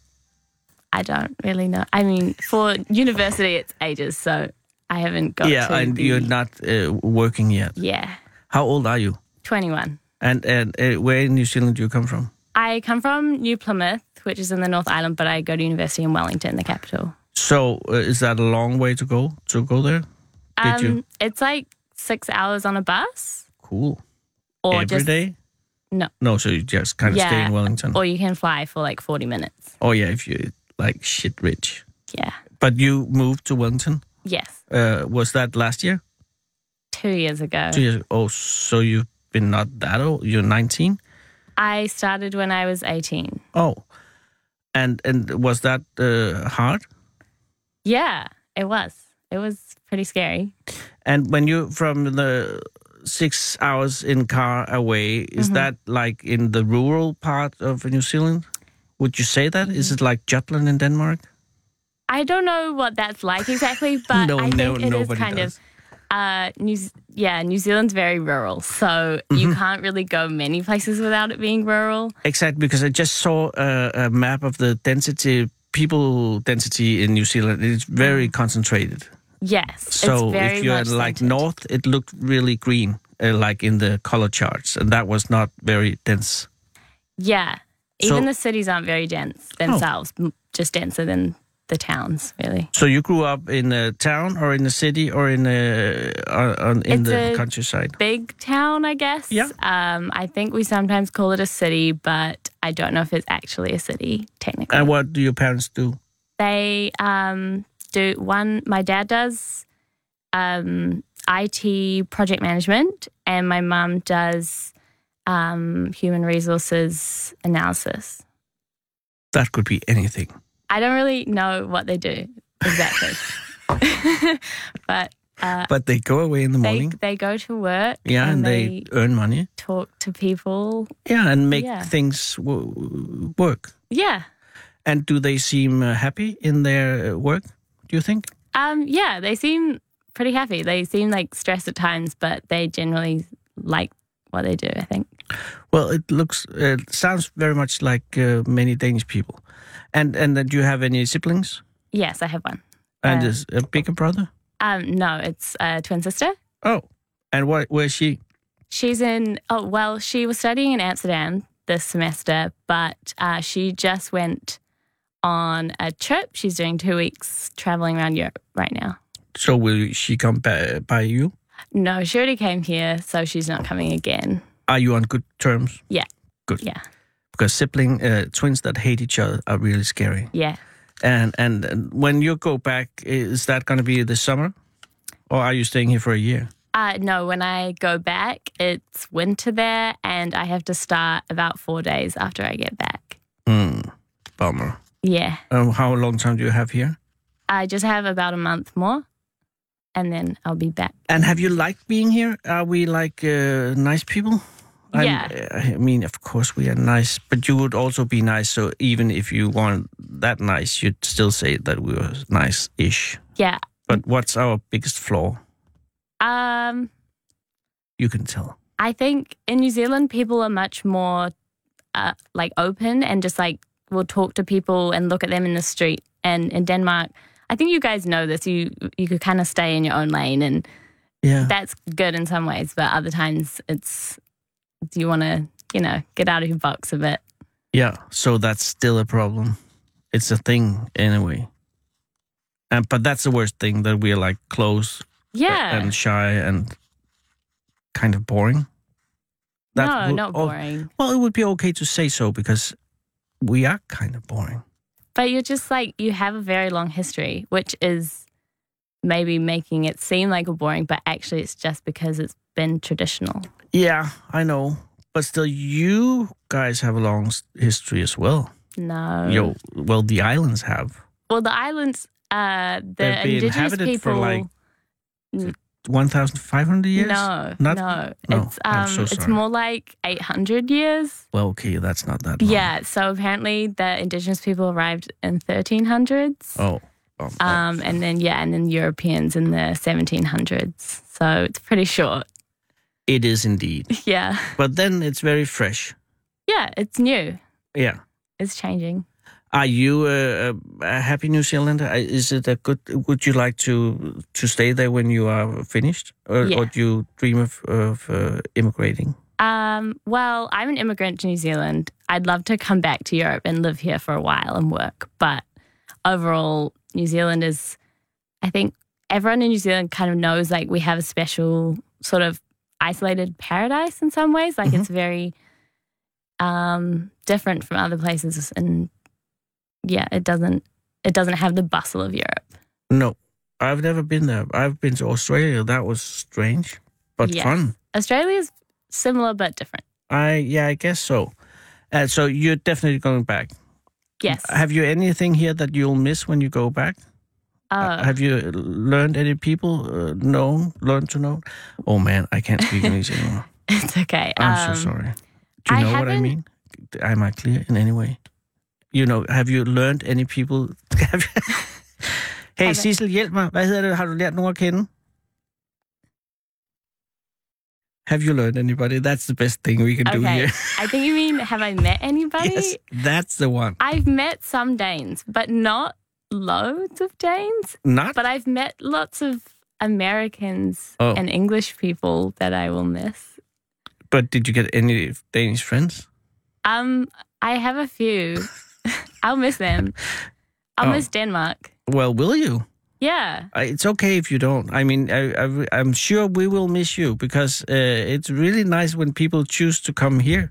[SPEAKER 6] I don't really know. I mean, for university, it's ages, so I haven't got
[SPEAKER 5] yeah,
[SPEAKER 6] to.
[SPEAKER 5] and
[SPEAKER 6] the-
[SPEAKER 5] you're not uh, working yet.
[SPEAKER 6] Yeah,
[SPEAKER 5] How old are you?
[SPEAKER 6] 21.
[SPEAKER 5] And and uh, where in New Zealand do you come from?
[SPEAKER 6] I come from New Plymouth, which is in the North Island, but I go to university in Wellington, the capital.
[SPEAKER 5] So uh, is that a long way to go to go there? Did you?
[SPEAKER 6] Um, It's like six hours on a bus,
[SPEAKER 5] Cool.
[SPEAKER 6] or
[SPEAKER 5] Every day?
[SPEAKER 6] just No.
[SPEAKER 5] No, so you just kind of stay
[SPEAKER 6] Yeah,
[SPEAKER 5] in Wellington.
[SPEAKER 6] or you can fly for like 40 minutes.
[SPEAKER 5] oh yeah, if you like shit rich.
[SPEAKER 6] Yeah.
[SPEAKER 5] But you moved to Wellington.
[SPEAKER 6] Yes.
[SPEAKER 5] Uh, was that last year?
[SPEAKER 6] Two years ago.
[SPEAKER 5] Two years. Oh, so you've been not that old. You're 19.
[SPEAKER 6] I started when I was 18.
[SPEAKER 5] Oh, and and was that uh, hard?
[SPEAKER 6] Yeah, it was. It was pretty scary.
[SPEAKER 5] And when you from the six hours in car away, is
[SPEAKER 6] Mm-hmm.
[SPEAKER 5] that like in the rural part of New Zealand? Would you say that? Is
[SPEAKER 6] Mm-hmm.
[SPEAKER 5] it like Jutland in Denmark?
[SPEAKER 6] I don't know what that's like exactly, but
[SPEAKER 5] No,
[SPEAKER 6] I think
[SPEAKER 5] no,
[SPEAKER 6] it is
[SPEAKER 5] nobody
[SPEAKER 6] kind
[SPEAKER 5] does.
[SPEAKER 6] of uh, New Z- yeah, New Zealand's very rural, so
[SPEAKER 5] Mm-hmm.
[SPEAKER 6] you can't really go many places without it being rural.
[SPEAKER 5] Exactly, because I just saw a, a map of the density, people density in New Zealand. It's very concentrated.
[SPEAKER 6] Yes,
[SPEAKER 5] So
[SPEAKER 6] Mm. it's very
[SPEAKER 5] if you're
[SPEAKER 6] much
[SPEAKER 5] like
[SPEAKER 6] centered.
[SPEAKER 5] north, it looked really green, uh, like in the color charts, and that was not very dense.
[SPEAKER 6] yeah,
[SPEAKER 5] So- Oh.
[SPEAKER 6] even the cities aren't very dense themselves, m just denser than the towns, really.
[SPEAKER 5] So you grew up in a town, or in a city, or in a uh, on, in
[SPEAKER 6] It's
[SPEAKER 5] the
[SPEAKER 6] a-
[SPEAKER 5] countryside.
[SPEAKER 6] Big town, I guess.
[SPEAKER 5] Yeah.
[SPEAKER 6] Um, I think we sometimes call it a city, but I don't know if it's actually a city technically.
[SPEAKER 5] And what do your parents do?
[SPEAKER 6] they um, do one my dad does um, it project management and my mum does um, human resources analysis
[SPEAKER 5] That could be anything.
[SPEAKER 6] i don't really know what they do exactly but uh,
[SPEAKER 5] But they go away in the
[SPEAKER 6] they,
[SPEAKER 5] morning.
[SPEAKER 6] they go to work
[SPEAKER 5] yeah, and they, earn money.
[SPEAKER 6] talk to people
[SPEAKER 5] Yeah, and make
[SPEAKER 6] Yeah.
[SPEAKER 5] things w- work.
[SPEAKER 6] yeah
[SPEAKER 5] And do they seem uh, happy in their uh, work? Do you think?
[SPEAKER 6] um, yeah they seem pretty happy they seem like stressed at times but they generally like what they do i think
[SPEAKER 5] Well, it looks, uh, it sounds very much like uh, many Danish people. And and then do you have any siblings?
[SPEAKER 6] yes i have one
[SPEAKER 5] And
[SPEAKER 6] Uh,
[SPEAKER 5] is a bigger brother?
[SPEAKER 6] Um, no, it's a twin sister.
[SPEAKER 5] Oh, and what? Where's she?
[SPEAKER 6] She's in. Oh well, she was studying in Amsterdam this semester, but uh, she just went on a trip. She's doing two weeks traveling around Europe right now.
[SPEAKER 5] So will she come by, by you?
[SPEAKER 6] No, she already came here, so she's not coming again.
[SPEAKER 5] Are you on good terms?
[SPEAKER 6] Yeah.
[SPEAKER 5] Good.
[SPEAKER 6] Yeah.
[SPEAKER 5] Because sibling uh, twins that hate each other are really scary.
[SPEAKER 6] Yeah.
[SPEAKER 5] And and, and when you go back, is that going to be this summer, or are you staying here for a year?
[SPEAKER 6] Uh, no, when I go back, it's winter there, and I have to start about four days after I get back.
[SPEAKER 5] Mm, bummer.
[SPEAKER 6] Yeah,
[SPEAKER 5] Um, how long time do you have here?
[SPEAKER 6] I just have about a month more, and then I'll be back.
[SPEAKER 5] And have you liked being here? Are we like uh, nice people? I'm- uh,
[SPEAKER 6] Yeah.
[SPEAKER 5] I mean, of course we are nice, but you would also be nice. So even if you weren't that nice, you'd still say that we were nice-ish.
[SPEAKER 6] Yeah.
[SPEAKER 5] But what's our biggest flaw?
[SPEAKER 6] Um.
[SPEAKER 5] You can tell.
[SPEAKER 6] I think in New Zealand, people are much more uh, like open and just like will talk to people and look at them in the street. And in Denmark, I think you guys know this. You you could kind of stay in your own lane, and
[SPEAKER 5] Yeah.
[SPEAKER 6] that's good in some ways. But other times, it's do you want to you know get out of your box a bit?
[SPEAKER 5] Yeah. So that's still a problem. It's a thing anyway. And but that's the worst thing that we're like close
[SPEAKER 6] Yeah.
[SPEAKER 5] and shy and kind of boring.
[SPEAKER 6] no,
[SPEAKER 5] wo-
[SPEAKER 6] not
[SPEAKER 5] oh,
[SPEAKER 6] boring.
[SPEAKER 5] well, it would be okay to say so because we are kind of boring.
[SPEAKER 6] But you're just like, you have a very long history, which is maybe making it seem like a boring, but actually it's just because it's been traditional.
[SPEAKER 5] Yeah, I know. But still, you guys have a long s- history as well.
[SPEAKER 6] No.
[SPEAKER 5] Yo, well, the islands have
[SPEAKER 6] Well, the islands, uh, the
[SPEAKER 5] They've been
[SPEAKER 6] indigenous
[SPEAKER 5] inhabited
[SPEAKER 6] people.
[SPEAKER 5] for, like, 1,500 years?
[SPEAKER 6] No,
[SPEAKER 5] Not-
[SPEAKER 6] no,
[SPEAKER 5] No,
[SPEAKER 6] It's
[SPEAKER 5] I'm
[SPEAKER 6] um,
[SPEAKER 5] so
[SPEAKER 6] it's
[SPEAKER 5] sorry.
[SPEAKER 6] more like 800 years.
[SPEAKER 5] Well, okay, that's not that long.
[SPEAKER 6] Yeah. So apparently, the indigenous people arrived in 1300s.
[SPEAKER 5] Oh. oh, oh.
[SPEAKER 6] Um, and then yeah, and then Europeans in the 1700s. So it's pretty short.
[SPEAKER 5] it is indeed.
[SPEAKER 6] Yeah,
[SPEAKER 5] But then it's very fresh.
[SPEAKER 6] yeah, it's new.
[SPEAKER 5] Yeah.
[SPEAKER 6] It's changing.
[SPEAKER 5] Are you a, a, a happy New Zealander? Uh, Is it a good? Would you like to to stay there when you are finished, or,
[SPEAKER 6] Yeah.
[SPEAKER 5] or do you dream of of uh, immigrating?
[SPEAKER 6] Um, well, I'm an immigrant to New Zealand. I'd love to come back to Europe and live here for a while and work. But overall, New Zealand is, I think everyone in New Zealand kind of knows like we have a special sort of isolated paradise in some ways. Like
[SPEAKER 5] Mm-hmm.
[SPEAKER 6] it's very um, different from other places. And yeah, it doesn't. It doesn't have the bustle of Europe.
[SPEAKER 5] No, I've never been there. I've been to Australia. That was strange, but
[SPEAKER 6] Yes.
[SPEAKER 5] fun.
[SPEAKER 6] Australia's similar but different.
[SPEAKER 5] I yeah, I guess so. Uh, so you're definitely going back.
[SPEAKER 6] Yes.
[SPEAKER 5] Have you anything here that you'll miss when you go back?
[SPEAKER 6] Uh,
[SPEAKER 5] Have you learned any people uh, known, learned to know? Oh man, I can't speak English anymore.
[SPEAKER 6] it's okay.
[SPEAKER 5] I'm
[SPEAKER 6] Um,
[SPEAKER 5] so sorry. Do you
[SPEAKER 6] I
[SPEAKER 5] know what I
[SPEAKER 6] haven't-
[SPEAKER 5] mean? Am I clear in any way? You know, have you learned any people? Have you- hey,
[SPEAKER 6] Haven't.
[SPEAKER 5] Sissel, hjælp mig. Hvad hedder det? Har du lært nogen at kende? Have you learned anybody? That's the best thing we can do
[SPEAKER 6] Okay.
[SPEAKER 5] here.
[SPEAKER 6] I think you mean have I met anybody?
[SPEAKER 5] yes, that's the one.
[SPEAKER 6] I've met some Danes, but not loads of Danes.
[SPEAKER 5] Not
[SPEAKER 6] But I've met lots of Americans
[SPEAKER 5] Oh.
[SPEAKER 6] and English people that I will miss.
[SPEAKER 5] But did you get any Danish friends?
[SPEAKER 6] Um, I have a few. I'll miss them. I'll
[SPEAKER 5] Oh.
[SPEAKER 6] miss Denmark.
[SPEAKER 5] Well, will you?
[SPEAKER 6] Yeah.
[SPEAKER 5] I- It's okay if you don't. I mean, I, I, am sure we will miss you because uh, it's really nice when people choose to come here.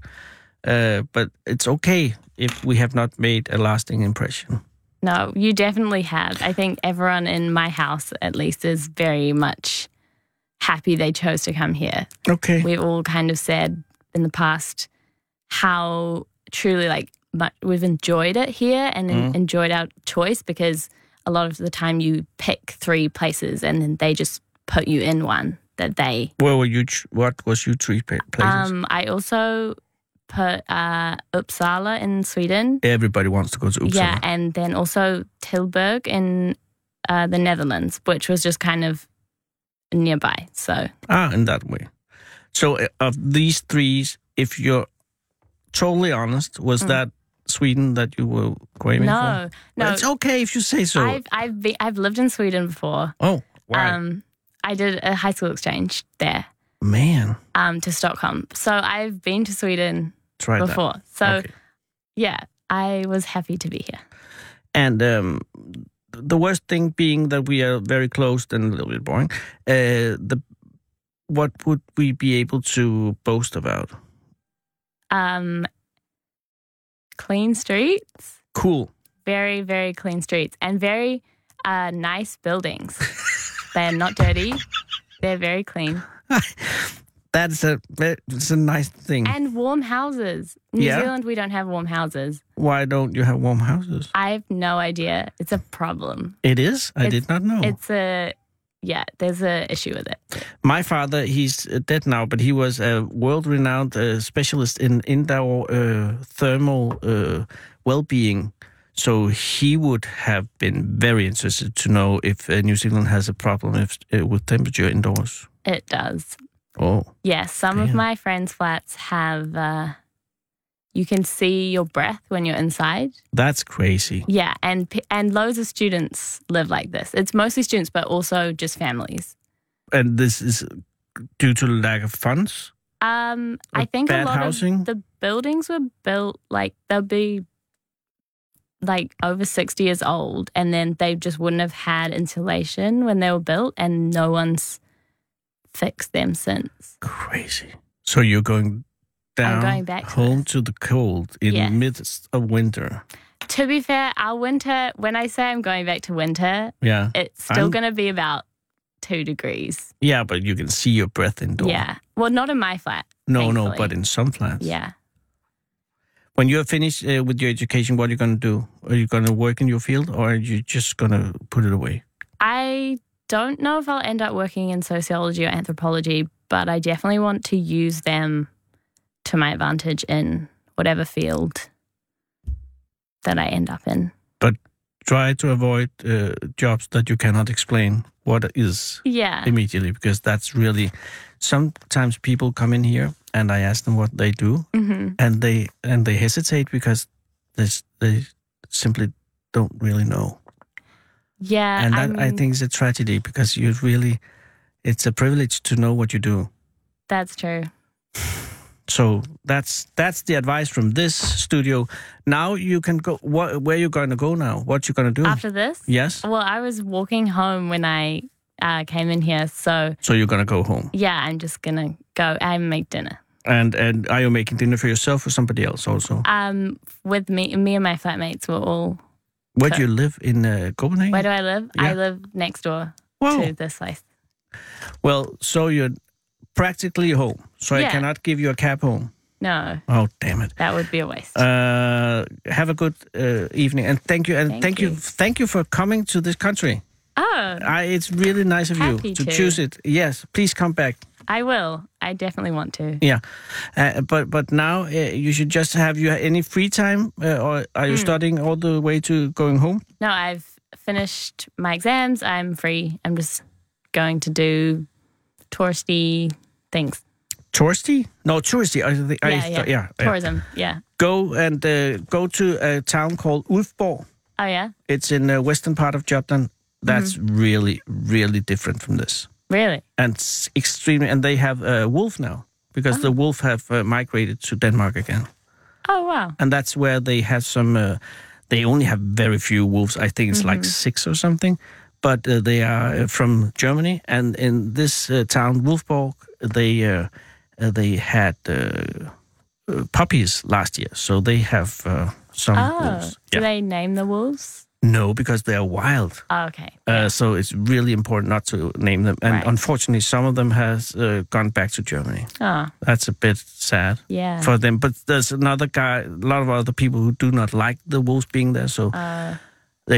[SPEAKER 5] Uh, but it's okay if we have not made a lasting impression.
[SPEAKER 6] No, you definitely have. I think everyone in my house, at least, is very much happy they chose to come here.
[SPEAKER 5] Okay.
[SPEAKER 6] we've all kind of said in the past how truly like mu we've enjoyed it here and en-
[SPEAKER 5] Mm.
[SPEAKER 6] enjoyed our choice because a lot of the time you pick three places and then they just put you in one that they
[SPEAKER 5] Where were you? ch- What was you three pa- places?
[SPEAKER 6] um i also put uh uppsala in sweden
[SPEAKER 5] Everybody wants to go to Uppsala.
[SPEAKER 6] yeah and then also tilburg in uh, the netherlands which was just kind of nearby so
[SPEAKER 5] Ah, in that way. So, uh, of these three, if you're totally honest, was that Sweden that you were craving for?
[SPEAKER 6] Mm. no
[SPEAKER 5] Well,
[SPEAKER 6] no
[SPEAKER 5] it's okay if you say so.
[SPEAKER 6] I've I've been, I've lived in Sweden before.
[SPEAKER 5] oh, why,
[SPEAKER 6] Um, I did a high school exchange there
[SPEAKER 5] man?
[SPEAKER 6] um, to Stockholm. So I've been to Sweden
[SPEAKER 5] Try that.
[SPEAKER 6] before. So
[SPEAKER 5] Okay.
[SPEAKER 6] yeah, I was happy to be here.
[SPEAKER 5] And um, the worst thing being that we are very closed and a little bit boring. Uh, the what would we be able to boast about?
[SPEAKER 6] Um, clean streets,
[SPEAKER 5] Cool.
[SPEAKER 6] very very clean streets, and very uh, nice buildings. They're not dirty. They're very clean
[SPEAKER 5] That's a it's a nice thing.
[SPEAKER 6] and warm houses. New
[SPEAKER 5] Hmm. Yeah.
[SPEAKER 6] Zealand, we don't have warm houses.
[SPEAKER 5] Why don't you have warm houses?
[SPEAKER 6] I have no idea. It's a problem.
[SPEAKER 5] It is. I did not know.
[SPEAKER 6] It's a yeah. There's a issue with it.
[SPEAKER 5] My father, he's uh, dead now, but he was a world-renowned uh, specialist in indoor uh, thermal uh, well-being. So he would have been very interested to know if uh, New Zealand has a problem if, uh, with temperature indoors.
[SPEAKER 6] It does.
[SPEAKER 5] Oh,
[SPEAKER 6] Yes, some of
[SPEAKER 5] Damn.
[SPEAKER 6] my friends' flats have. Uh, you can see your breath when you're inside.
[SPEAKER 5] that's crazy.
[SPEAKER 6] Yeah, and p- and loads of students live like this. It's mostly students, but also just families.
[SPEAKER 5] And this is due to lack of funds.
[SPEAKER 6] Um, I
[SPEAKER 5] Like
[SPEAKER 6] think a
[SPEAKER 5] bad
[SPEAKER 6] lot
[SPEAKER 5] housing?
[SPEAKER 6] of the buildings were built like they'll be like over 60 years old and then they just wouldn't have had insulation when they were built and no one's fixed them since.
[SPEAKER 5] Crazy. So you're going down
[SPEAKER 6] going back to
[SPEAKER 5] home to the cold in
[SPEAKER 6] Yes.
[SPEAKER 5] the midst of winter.
[SPEAKER 6] To be fair, our winter, when I say I'm going back to winter,
[SPEAKER 5] Yeah.
[SPEAKER 6] it's still
[SPEAKER 5] I'm-
[SPEAKER 6] going to be about two degrees.
[SPEAKER 5] Yeah, but you can see your breath indoor.
[SPEAKER 6] Yeah. Well, not in my flat.
[SPEAKER 5] No, no,
[SPEAKER 6] thankfully.
[SPEAKER 5] but in some flats.
[SPEAKER 6] Yeah.
[SPEAKER 5] When you're finished uh, with your education, what are you going to do? Are you going to work in your field or are you just going to put it away?
[SPEAKER 6] I don't know if I'll end up working in sociology or anthropology, but I definitely want to use them to my advantage in whatever field that I end up in.
[SPEAKER 5] Try to avoid uh, jobs that you cannot explain what is
[SPEAKER 6] Yeah.
[SPEAKER 5] immediately because that's really sometimes people come in here and I ask them what they do
[SPEAKER 6] hmm
[SPEAKER 5] and they and they hesitate because they s- they simply don't really know
[SPEAKER 6] Yeah.
[SPEAKER 5] and
[SPEAKER 6] um,
[SPEAKER 5] that I
[SPEAKER 6] Uh, mean,
[SPEAKER 5] think is a tragedy because you really it's a privilege to know what you do
[SPEAKER 6] that's true.
[SPEAKER 5] so that's that's the advice from this studio now you can go what, where you going to go now what you going to do
[SPEAKER 6] After this,
[SPEAKER 5] yes
[SPEAKER 6] well, I was walking home when I uh, came in here. So,
[SPEAKER 5] so you're going to go home
[SPEAKER 6] yeah, I'm just going to go and make dinner
[SPEAKER 5] and and are you making dinner for yourself or somebody else also
[SPEAKER 6] um, with me. Me and my flatmates were all.
[SPEAKER 5] where do you live in uh, copenhagen
[SPEAKER 6] Where do I live?
[SPEAKER 5] Yeah.
[SPEAKER 6] I live next door
[SPEAKER 5] Wow.
[SPEAKER 6] to this place.
[SPEAKER 5] well so you're practically home so i
[SPEAKER 6] Yeah.
[SPEAKER 5] cannot give you a cab home
[SPEAKER 6] No,
[SPEAKER 5] oh damn it
[SPEAKER 6] that would be a waste.
[SPEAKER 5] Uh, have a good uh, evening, and thank you, and thank,
[SPEAKER 6] Thank
[SPEAKER 5] you.
[SPEAKER 6] you.
[SPEAKER 5] thank you for coming to this country.
[SPEAKER 6] oh,
[SPEAKER 5] I, it's really nice of you
[SPEAKER 6] Happy
[SPEAKER 5] to,
[SPEAKER 6] to.
[SPEAKER 5] choose it. Yes, please come back.
[SPEAKER 6] I will. I definitely want to.
[SPEAKER 5] Yeah, uh, but but now uh, you should just have you any free time, uh, or are you
[SPEAKER 6] Hmm.
[SPEAKER 5] studying all the way to going home?
[SPEAKER 6] No, I've finished my exams. I'm free. I'm just going to do touristy things.
[SPEAKER 5] Touristy? No, touristy. I, think I,
[SPEAKER 6] yeah, yeah.
[SPEAKER 5] thought- yeah, yeah.
[SPEAKER 6] Tourism. Yeah.
[SPEAKER 5] Go and uh, go to a town called Ulfborg.
[SPEAKER 6] Oh, yeah.
[SPEAKER 5] It's in the western part of Jutland. That's
[SPEAKER 6] Mm-hmm.
[SPEAKER 5] really really different from this.
[SPEAKER 6] Really?
[SPEAKER 5] and s- extremely and they have a wolf now because
[SPEAKER 6] Ah.
[SPEAKER 5] the wolf have uh, migrated to Denmark again
[SPEAKER 6] Oh, wow.
[SPEAKER 5] and that's where they have some uh, they only have very few wolves I think it's like
[SPEAKER 6] Mm-hmm.
[SPEAKER 5] 6 or something but uh, they are uh, from Germany and in this uh, town Wolfborg they uh, uh, they had uh, uh, puppies last year so they have uh, some
[SPEAKER 6] Oh,
[SPEAKER 5] wolves
[SPEAKER 6] do
[SPEAKER 5] yeah.
[SPEAKER 6] they name the wolves?
[SPEAKER 5] no because they are wild
[SPEAKER 6] Oh, okay.
[SPEAKER 5] uh, so it's really important not to name them and
[SPEAKER 6] Right.
[SPEAKER 5] unfortunately some of them has uh, gone back to Germany
[SPEAKER 6] Oh,
[SPEAKER 5] that's a bit sad
[SPEAKER 6] yeah.
[SPEAKER 5] for them. But there's another guy, a lot of other people who do not like the wolves being there. So
[SPEAKER 6] Uh.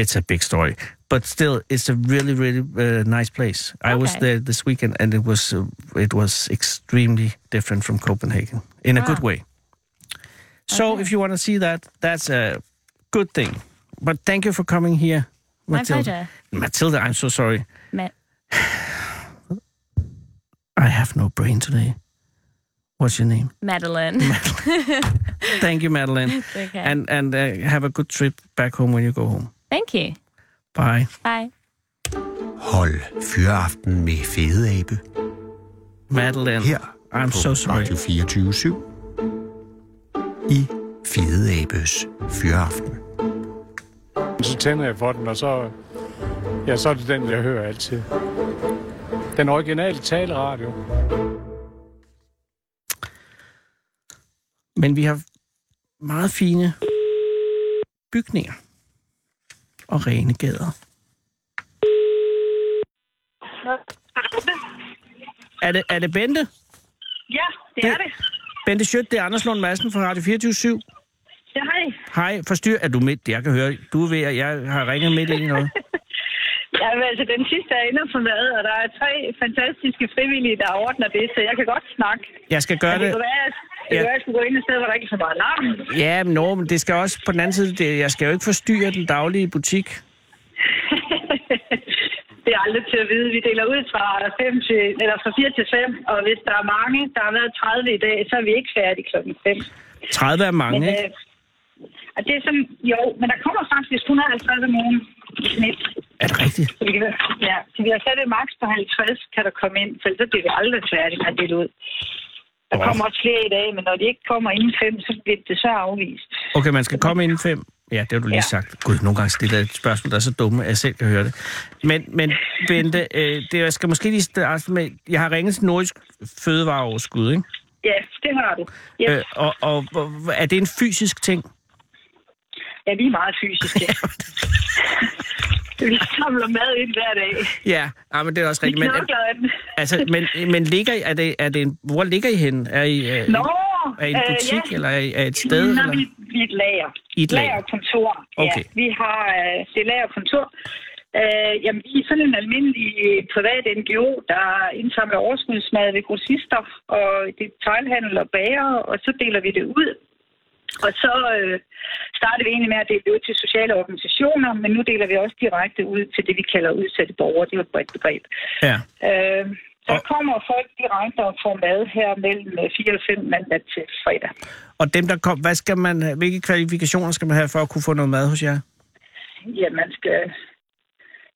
[SPEAKER 5] it's a big story. But still, it's a really, really uh, nice place. I was
[SPEAKER 6] Okay.
[SPEAKER 5] there this weekend, and it was uh, it was extremely different from Copenhagen in a good way. So if you want to see that, that's a good thing. But thank you for coming here,
[SPEAKER 6] My
[SPEAKER 5] Matilda.
[SPEAKER 6] pleasure.
[SPEAKER 5] Matilda, I'm so sorry.
[SPEAKER 6] Ma-
[SPEAKER 5] I have no brain today. What's your name?
[SPEAKER 6] Madeline.
[SPEAKER 5] Thank you, Madeline.
[SPEAKER 6] okay.
[SPEAKER 5] and and uh, have a good trip back home when you go home.
[SPEAKER 6] Thank you.
[SPEAKER 5] Bye.
[SPEAKER 6] Bye.
[SPEAKER 3] Hold fyreaften med Fedeabe
[SPEAKER 5] Madeline.
[SPEAKER 3] her på
[SPEAKER 5] I'm so sorry.
[SPEAKER 3] Radio 24 i Fedeabes Fyreaften.
[SPEAKER 7] Så tænder jeg for den, og så, ja, så er det den, jeg hører altid. Den originale taleradio.
[SPEAKER 5] Men vi har meget fine bygninger og rene gader. Er det, er det Bente?
[SPEAKER 8] Ja, det er det.
[SPEAKER 5] Bente Schødt, det er Anders Lund Madsen fra Radio 24
[SPEAKER 8] Ja, hej.
[SPEAKER 5] Hej, forstyr. Er du midt? Jeg kan høre, du er ved, at jeg har ringet midt ind i noget.
[SPEAKER 8] Ja, men altså, den sidste er inde og formad, og der er tre fantastiske frivillige, der ordner det, så jeg kan godt snakke.
[SPEAKER 5] Jeg skal gøre
[SPEAKER 8] Men det
[SPEAKER 5] det.
[SPEAKER 8] kunne være, at det
[SPEAKER 5] Ja.
[SPEAKER 8] kunne være, at jeg skulle gå ind et sted, hvor der ikke er så meget larm.
[SPEAKER 5] Ja, men, no, men det skal også på den anden side. Det, jeg skal jo ikke forstyrre den daglige butik.
[SPEAKER 8] det er aldrig til at vide. Vi deler ud fra, 5 til, eller fra 4 til 5, og hvis der er mange, der har været 30 i dag, så er vi ikke færdige kl. 5.
[SPEAKER 5] 30 er mange,
[SPEAKER 8] Men,
[SPEAKER 5] ikke?
[SPEAKER 8] øh, og det er som, jo, men der kommer faktisk 150 om ugen i snit.
[SPEAKER 5] Er det rigtigt?
[SPEAKER 8] Så vi kan- Ja, så vi har sat et maks på 50, kan der komme ind, for ellers så bliver vi aldrig færdige med at dele ud. Der kommer også flere i dag, men når de ikke kommer inden fem, så bliver det så afvist.
[SPEAKER 5] Okay, man skal komme inden fem. Ja, det har du lige ja.
[SPEAKER 8] Ja.
[SPEAKER 5] sagt. Gud, nogle gange stiller jeg et spørgsmål, der er så dumme, at jeg selv kan høre det. Men, men Bente, øh, det, jeg skal måske lige starte med, jeg har ringet til Nordisk Fødevareoverskud, ikke?
[SPEAKER 8] Ja, det har du. Yes.
[SPEAKER 5] Øh, og, og, og er det en fysisk ting?
[SPEAKER 8] Ja, vi er meget fysiske. vi samler mad ind hver dag.
[SPEAKER 5] Ja, ah, men det er også
[SPEAKER 8] Vi
[SPEAKER 5] rigtigt. Men,
[SPEAKER 8] knokler af den.
[SPEAKER 5] altså, men, men ligger I, er det, er det en, hvor ligger I henne? Er I, øh,
[SPEAKER 8] Nå,
[SPEAKER 5] er I en butik, øh,
[SPEAKER 8] øh, ja.
[SPEAKER 5] ja. eller er I er I et sted?
[SPEAKER 8] Nå,
[SPEAKER 5] eller?
[SPEAKER 8] vi, vi er et lager.
[SPEAKER 5] I et lager.
[SPEAKER 8] Lagerkontor.
[SPEAKER 5] Okay.
[SPEAKER 8] Ja, vi har øh, det er lagerkontor. Øh, jamen, vi er sådan en almindelig øh, privat NGO, der indsamler overskudsmad ved grossister og detailhandel og bager, og så deler vi det ud. Og så øh, startede vi egentlig med at dele det ud til sociale organisationer, men nu deler vi også direkte ud til det, vi kalder udsatte borgere. Det er jo et bredt begreb.
[SPEAKER 5] Ja.
[SPEAKER 8] Øh, der
[SPEAKER 5] Og-
[SPEAKER 8] kommer folk direkte og får mad her mellem 4 og 5 mandag til fredag.
[SPEAKER 5] Og dem, der kom, hvad skal man, have- hvilke kvalifikationer skal man have for at kunne få noget mad hos jer?
[SPEAKER 8] Ja, man skal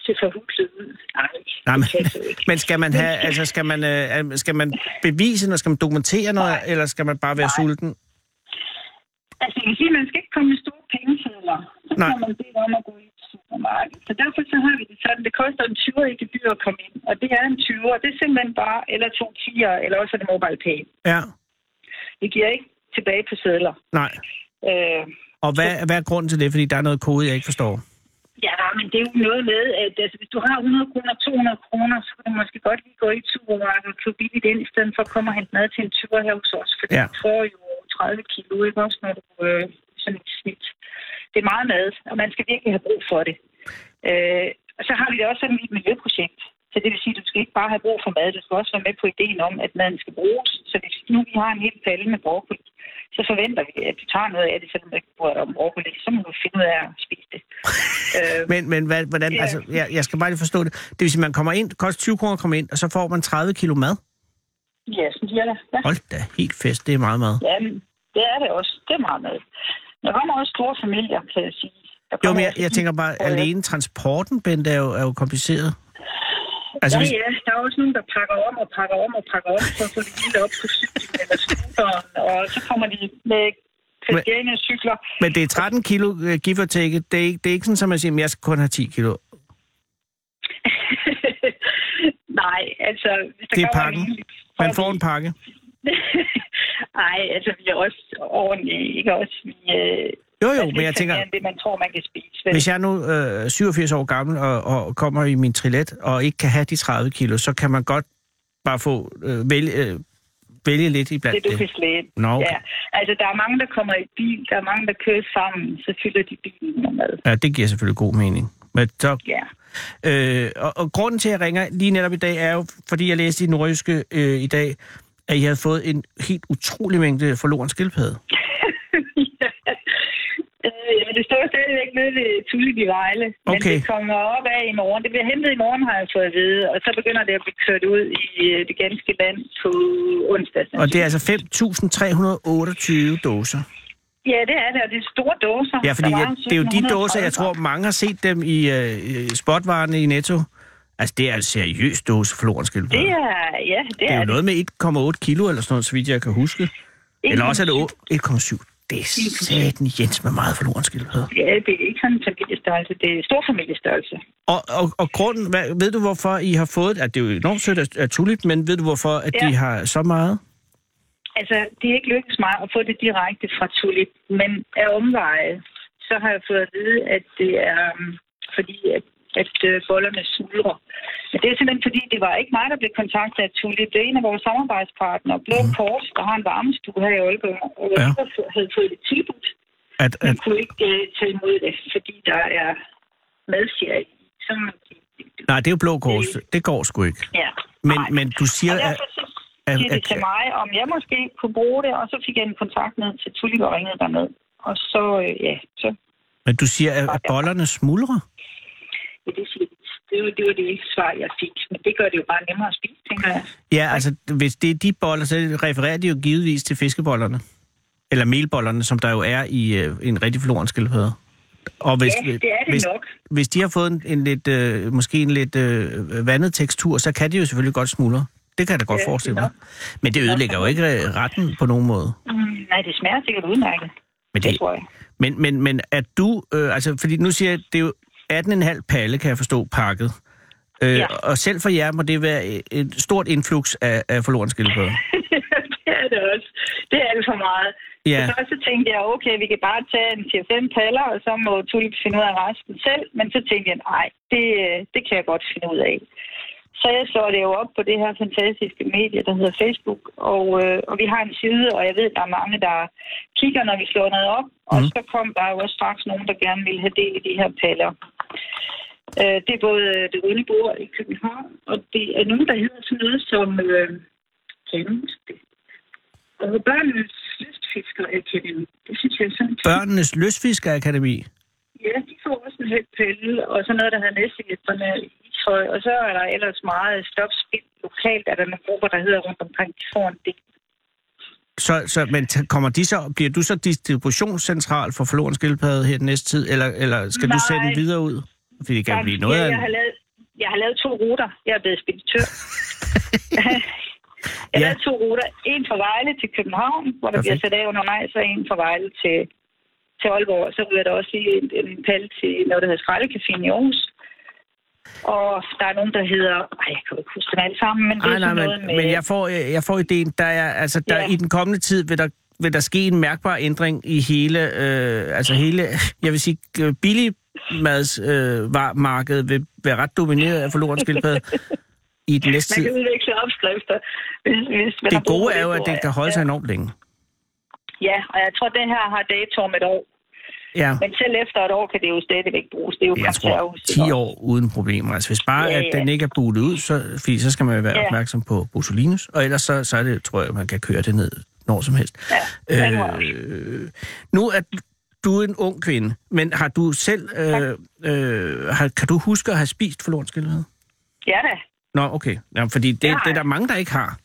[SPEAKER 8] se for huset ud. Nej,
[SPEAKER 5] Nej, men,
[SPEAKER 8] det kan du ikke.
[SPEAKER 5] men skal man have, altså skal man, øh, skal man bevise noget, skal man dokumentere noget, Nej. eller skal man bare være Nej. sulten?
[SPEAKER 8] Altså, jeg vil sige, man skal ikke komme med store pengesedler. Så
[SPEAKER 5] Nej.
[SPEAKER 8] kan man bede om at gå i et supermarked. Så derfor så har vi det sådan, det koster en 20 i gebyr at komme ind. Og det er en 20, og det er simpelthen bare, eller to 10'er, eller også er det mobile pay.
[SPEAKER 5] Ja.
[SPEAKER 8] Vi giver ikke tilbage på sedler.
[SPEAKER 5] Nej.
[SPEAKER 8] Øh,
[SPEAKER 5] Og hvad, hvad er grunden til det? Fordi der er noget kode, jeg ikke forstår.
[SPEAKER 8] Ja, men det er jo noget med, at altså, hvis du har 100 kroner, 200 kroner, så kan du måske godt lige gå i et supermarked og købe billigt ind, i stedet for at komme og hente mad til en tur her hos os, fordi
[SPEAKER 5] Ja.
[SPEAKER 8] ja. du får jo 30 kilo, ikke også, når du øh, sådan et snit. Det er meget mad, og man skal virkelig have brug for det. Øh, og så har vi det også sådan i et miljøprojekt. Så det vil sige, at du skal ikke bare have brug for mad, du skal også være med på ideen om, at maden skal bruges. Så hvis nu vi har en hel palle med broccoli, så forventer vi, at du tager noget af det, selvom du ikke bruger dig om broccoli. Så må du finde ud af at spise det. øh,
[SPEAKER 5] Men, men hvad, hvordan,
[SPEAKER 8] Ja.
[SPEAKER 5] altså, jeg, jeg skal bare lige forstå det. Det vil sige, man kommer ind, det koster 20 kroner at komme ind, og så får man 30 kilo mad.
[SPEAKER 8] Ja, sådan siger det. Ja.
[SPEAKER 5] Hold da, helt fest, det er meget mad.
[SPEAKER 8] ja, men det er det også. Det er meget med. Der kommer også store familier, kan jeg sige. Der
[SPEAKER 5] Jo,
[SPEAKER 8] kommer
[SPEAKER 5] men jeg,
[SPEAKER 8] også- Øh,
[SPEAKER 5] jeg tænker bare,
[SPEAKER 8] Ja.
[SPEAKER 5] alene transporten, Bente, er jo, er jo kompliceret. Altså,
[SPEAKER 8] Ja,
[SPEAKER 5] hvis,
[SPEAKER 8] ja, der er også nogen, der pakker om og pakker om og pakker om, så får de lige op på cyklen eller scooteren, og så kommer de med Christiania-cykler.
[SPEAKER 5] men det er 13 kilo øh, give or take. Det er, ikke- det er ikke sådan, at man siger, at jeg skal kun have 10 kilo.
[SPEAKER 8] Nej, altså... Hvis der
[SPEAKER 5] Det er
[SPEAKER 8] kommer
[SPEAKER 5] pakken.
[SPEAKER 8] en-
[SPEAKER 5] Man får en pakke.
[SPEAKER 8] Nej, altså vi er også ordentlige, ikke også? Vi, øh,
[SPEAKER 5] Jo, jo,
[SPEAKER 8] altså,
[SPEAKER 5] men jeg
[SPEAKER 8] lidt
[SPEAKER 5] tænker,
[SPEAKER 8] mere end det, man tror, man kan spise. vel?
[SPEAKER 5] Hvis jeg nu øh, 87 år gammel og, og kommer i min trillet og ikke kan have de 30 kilo, så kan man godt bare få øh, vælge, øh, vælge lidt iblandt
[SPEAKER 8] det, du
[SPEAKER 5] det.
[SPEAKER 8] kan slæbe.
[SPEAKER 5] Nå, okay.
[SPEAKER 8] ja. Altså, der er mange, der kommer i bil, der er mange, der kører sammen, så fylder de bilen med mad.
[SPEAKER 5] Ja, det giver selvfølgelig god mening. Men så,
[SPEAKER 8] Ja.
[SPEAKER 5] øh, og, og grunden til, at jeg ringer lige netop i dag, er jo, fordi jeg læste i Nordjyske øh, i dag, at I havde fået en helt utrolig mængde forloren skildpadde.
[SPEAKER 8] Øh, men det står stadigvæk nede ved Tulip i Vejle. Men
[SPEAKER 5] Okay.
[SPEAKER 8] det kommer op af i morgen. Det bliver hentet i morgen, har jeg fået at vide. Og så begynder det at blive kørt ud i øh, det ganske land på onsdag.
[SPEAKER 5] Og det er altså 5.328 dåser.
[SPEAKER 8] Ja, det er det, og det er store dåser.
[SPEAKER 5] Ja, fordi
[SPEAKER 8] Der var
[SPEAKER 5] jeg, det er jo de
[SPEAKER 8] 1730.
[SPEAKER 5] dåser, jeg tror, mange har set dem i øh, i spotvarerne i Netto. Altså, det er en seriøs dåse florenskildpadde.
[SPEAKER 8] Det er, ja, det,
[SPEAKER 5] det er jo
[SPEAKER 8] det.
[SPEAKER 5] noget med 1,8 kilo eller sådan noget, så vidt jeg kan huske. Eller også er det å- 1,7. Det er satan Jens med meget florenskildpadde.
[SPEAKER 8] Ja, det er ikke sådan en familiestørrelse. Det er stor familiestørrelse.
[SPEAKER 5] Og, og, og grunden, hvad, ved du hvorfor I har fået, at det er jo enormt sødt af- af Tulip, men ved du hvorfor, at ja.
[SPEAKER 8] Ja.
[SPEAKER 5] de har så meget?
[SPEAKER 8] Altså, det er ikke lykkedes mig at få det direkte fra Tulip, men af omveje, så har jeg fået at vide, at det er øhm, fordi, at, at øh, bollerne sulrer. Men det er simpelthen fordi, det var ikke mig, der blev kontaktet af Tulip. Det er en af vores samarbejdspartnere, Blå Kors, der har en varmestue her i Aalborg, og
[SPEAKER 5] Mm. Ja.
[SPEAKER 8] ja. havde fået det tilbudt,
[SPEAKER 5] At, at,
[SPEAKER 8] men kunne ikke øh, tage imod det, fordi der er madfjer i. Så må de-
[SPEAKER 5] nej, det er jo blå kors. Det går sgu ikke.
[SPEAKER 8] Ja.
[SPEAKER 5] Men,
[SPEAKER 8] Nej.
[SPEAKER 5] men du siger,
[SPEAKER 8] Og
[SPEAKER 5] at,
[SPEAKER 8] derfor så
[SPEAKER 5] at,
[SPEAKER 8] siger de
[SPEAKER 5] at,
[SPEAKER 8] til mig, om jeg måske kunne bruge det, og så fik jeg en kontakt ned til Tulip og ringede derned. Og så, øh, ja, så
[SPEAKER 5] men du siger, at, at bollerne smuldrer.
[SPEAKER 8] ja, det siger de. Det var, det var det svar, jeg fik. Men det gør det jo bare nemmere at spise, tænker jeg.
[SPEAKER 5] Ja, altså, hvis det er de boller, så refererer de jo givetvis til fiskebollerne. Eller melbollerne, som der jo er i øh, en rigtig florenskildpadde. Og hvis,
[SPEAKER 8] Ja, det er det
[SPEAKER 5] hvis,
[SPEAKER 8] nok.
[SPEAKER 5] hvis de har fået en, en lidt, øh, måske en lidt øh, vandet tekstur, så kan de jo selvfølgelig godt smuldre. Det kan jeg da godt
[SPEAKER 8] Ja,
[SPEAKER 5] forestille
[SPEAKER 8] det er
[SPEAKER 5] mig. Men det ødelægger jo ikke øh, retten på nogen måde.
[SPEAKER 8] Mm, nej, det smager sikkert udmærket.
[SPEAKER 5] Men
[SPEAKER 8] Det
[SPEAKER 5] det,
[SPEAKER 8] tror jeg.
[SPEAKER 5] Men, men, men at du, øh, altså fordi nu siger jeg, det er jo 18,5 palle, kan jeg forstå, pakket. Øh,
[SPEAKER 8] Ja.
[SPEAKER 5] Og selv for jer må det være et- et stort influx af, af forlorene skildpadder.
[SPEAKER 8] det er det også. Det er alt for meget.
[SPEAKER 5] Ja.
[SPEAKER 8] Så først så tænkte jeg, okay, vi kan bare tage en 4-5 paller, og så må Tulip finde ud af resten selv. Men så tænkte jeg, nej, det, øh, det kan jeg godt finde ud af. Så jeg slår det jo op på det her fantastiske medie, der hedder Facebook. Og, øh, og vi har en side, og jeg ved, der er mange, der kigger, når vi slår noget op. Mm. Og så kom der jo også straks nogen, der gerne ville have del i de her paller. Øh, det er både øh, det runde bord i København, og det er nogen, der hedder sådan noget som... Øh, kan jeg huske det? Altså børnenes lystfiskerakademi. Det synes jeg er sådan...
[SPEAKER 5] Børnenes Løsfiskerakademi.
[SPEAKER 8] Ja, de får også en helt pille, og så noget, der hedder næstehjælperne i tøj. Og så er der ellers meget stopspil. Lokalt er der nogle grupper, der hedder rundt omkring, de får en del.
[SPEAKER 5] Så, så, men t- kommer de så, bliver du så distributionscentral for forlorene skildpadde her den næste tid, eller, eller skal Nej. du sende
[SPEAKER 8] Nej.
[SPEAKER 5] den videre ud? Fordi det kan jo blive noget
[SPEAKER 8] ja,
[SPEAKER 5] af
[SPEAKER 8] jeg, har
[SPEAKER 5] en-
[SPEAKER 8] lavet, jeg har lavet to ruter. Jeg er blevet speditør. jeg har
[SPEAKER 5] Ja.
[SPEAKER 8] lavet to ruter. En fra Vejle til København, hvor der bliver
[SPEAKER 5] Perfekt.
[SPEAKER 8] sat af undervejs, og en fra Vejle til, til Aalborg. Så ryger der også lige en, en pal til noget, der hedder Skraldecaféen i Aarhus. Og der er nogen, der hedder... Ej, jeg kan jo ikke huske dem alle sammen, men det
[SPEAKER 5] Nej,
[SPEAKER 8] er
[SPEAKER 5] nej,
[SPEAKER 8] sådan noget
[SPEAKER 5] men,
[SPEAKER 8] med...
[SPEAKER 5] men jeg, får, øh, jeg får ideen, der er, altså, der,
[SPEAKER 8] Ja.
[SPEAKER 5] i den kommende tid vil der, vil der ske en mærkbar ændring i hele, øh, altså hele, jeg vil sige, øh, billigmadsmarkedet øh, var- markedet vil være ret domineret af forlorene skildpadde i den næste
[SPEAKER 8] Man
[SPEAKER 5] tid.
[SPEAKER 8] kan udveksle opskrifter, hvis, hvis man har
[SPEAKER 5] Det
[SPEAKER 8] brug for
[SPEAKER 5] gode er jo, at
[SPEAKER 8] tror
[SPEAKER 5] det
[SPEAKER 8] jeg.
[SPEAKER 5] kan holde sig
[SPEAKER 8] ja.
[SPEAKER 5] enormt længe.
[SPEAKER 8] ja, og jeg tror, at det her har dato om et år.
[SPEAKER 5] Ja.
[SPEAKER 8] Men selv efter et år kan det jo stadigvæk bruges. Det er jo
[SPEAKER 5] Jeg tror,
[SPEAKER 8] konservativt.
[SPEAKER 5] 10 år uden problemer. Altså, hvis bare,
[SPEAKER 8] Ja,
[SPEAKER 5] at
[SPEAKER 8] ja.
[SPEAKER 5] den ikke er bulet ud, så, fordi så skal man jo være
[SPEAKER 8] Ja.
[SPEAKER 5] opmærksom på botulinus, og ellers så, så er det, tror jeg, man kan køre det ned når som helst.
[SPEAKER 8] Ja, det må jeg
[SPEAKER 5] øh, nu er du en ung kvinde, men har du selv, øh, øh, har, kan du huske at have spist forlorn skildpadde?
[SPEAKER 8] Ja da.
[SPEAKER 5] Nå, okay. Jamen, fordi det,
[SPEAKER 8] Det
[SPEAKER 5] det,
[SPEAKER 8] har
[SPEAKER 5] det er
[SPEAKER 8] jeg.
[SPEAKER 5] der mange, der ikke har.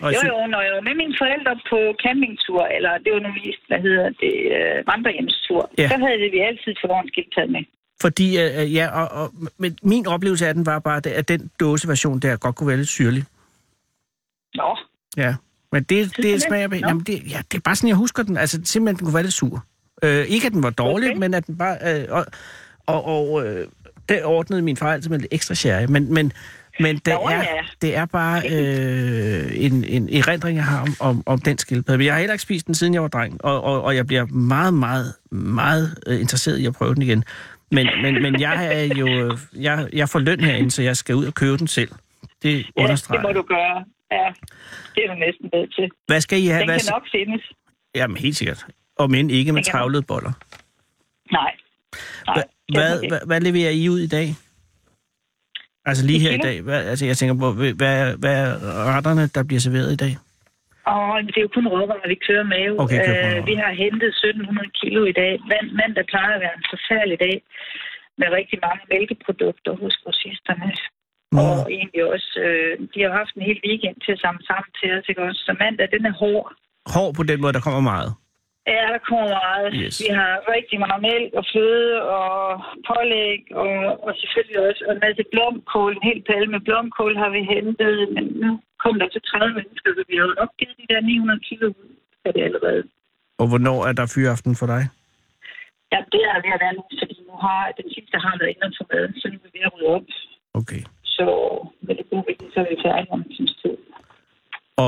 [SPEAKER 5] Og
[SPEAKER 8] Jo
[SPEAKER 5] jeg
[SPEAKER 8] jo, når jeg var med mine forældre på campingtur, eller det var nu mest, hvad hedder det, øh, vandrehjemstur,
[SPEAKER 5] Ja.
[SPEAKER 8] ja. så havde det vi altid forlorens skildpadde med.
[SPEAKER 5] Fordi, øh, øh, ja, og, og, men min oplevelse af den var bare, at den dåseversion der godt kunne være lidt syrlig.
[SPEAKER 8] Nå,
[SPEAKER 5] Ja, men det,
[SPEAKER 8] du
[SPEAKER 5] det
[SPEAKER 8] det?
[SPEAKER 5] smager med.
[SPEAKER 8] Nå.
[SPEAKER 5] Jamen, det, ja, det er bare sådan, jeg husker den. Altså, simpelthen, den kunne være lidt sur. Øh, ikke, at den var dårlig, okay.
[SPEAKER 8] Okay.
[SPEAKER 5] men at den bare... Øh, og og, og øh, det ordnede min far altid med lidt ekstra sherry. Men, men, men det,
[SPEAKER 8] Nå,
[SPEAKER 5] er,
[SPEAKER 8] ja.
[SPEAKER 5] det er bare øh, en, en erindring, jeg har om, om, om den skildpadde. Men jeg har heller ikke spist den, siden jeg var dreng. Og, og, og jeg bliver meget, meget, meget øh, interesseret i at prøve den igen. Men, men, men jeg er jo... øh, Jeg, jeg får løn herinde, så jeg skal ud og købe den selv. Det
[SPEAKER 8] ja,
[SPEAKER 5] understreger.
[SPEAKER 8] det må du gøre. Ja, det er du næsten nødt til.
[SPEAKER 5] Hvad skal I have?
[SPEAKER 8] Den
[SPEAKER 5] hvad,
[SPEAKER 8] kan nok findes.
[SPEAKER 5] Jamen helt sikkert. Og men ikke med
[SPEAKER 8] Det kan man.
[SPEAKER 5] travlede boller.
[SPEAKER 8] Nej. Nej,
[SPEAKER 5] Hva- Hvad, hvad, hvad leverer I ud i dag? Altså lige
[SPEAKER 8] I
[SPEAKER 5] her i
[SPEAKER 8] kilo?
[SPEAKER 5] dag. Hvad, altså jeg tænker på, hvad, hvad hvad er retterne, der bliver serveret i dag?
[SPEAKER 8] Og det er jo kun råvarer, vi kører med. jo.
[SPEAKER 5] Okay, kører kun råvarer.
[SPEAKER 8] Øh, vi har hentet 1700 kilo i dag. Mand, mandag plejer at være en forfærdelig dag med rigtig mange mælkeprodukter hos grossisterne.
[SPEAKER 5] Nå.
[SPEAKER 8] Og egentlig også, øh, de har jo haft en hel weekend til at samle sammen til os, ikke også? Så mandag, den er hård.
[SPEAKER 5] Hård på den måde, der kommer meget.
[SPEAKER 8] Ja, der kommer meget.
[SPEAKER 5] Yes.
[SPEAKER 8] Vi har rigtig meget mælk og fløde og pålæg, og, og selvfølgelig også og en masse blomkål. En hel palle med blomkål har vi hentet, men nu kom der til 30 mennesker, så vi har jo opgivet de der 900 kilo ud af det allerede.
[SPEAKER 5] Og hvornår er der fyraften for dig?
[SPEAKER 8] Ja, det er ved at være nu, fordi nu har den sidste har været inden for maden, så nu er vi ved at rydde op.
[SPEAKER 5] Okay.
[SPEAKER 8] Så med det gode vigtige, så er vi færdige om en times tid.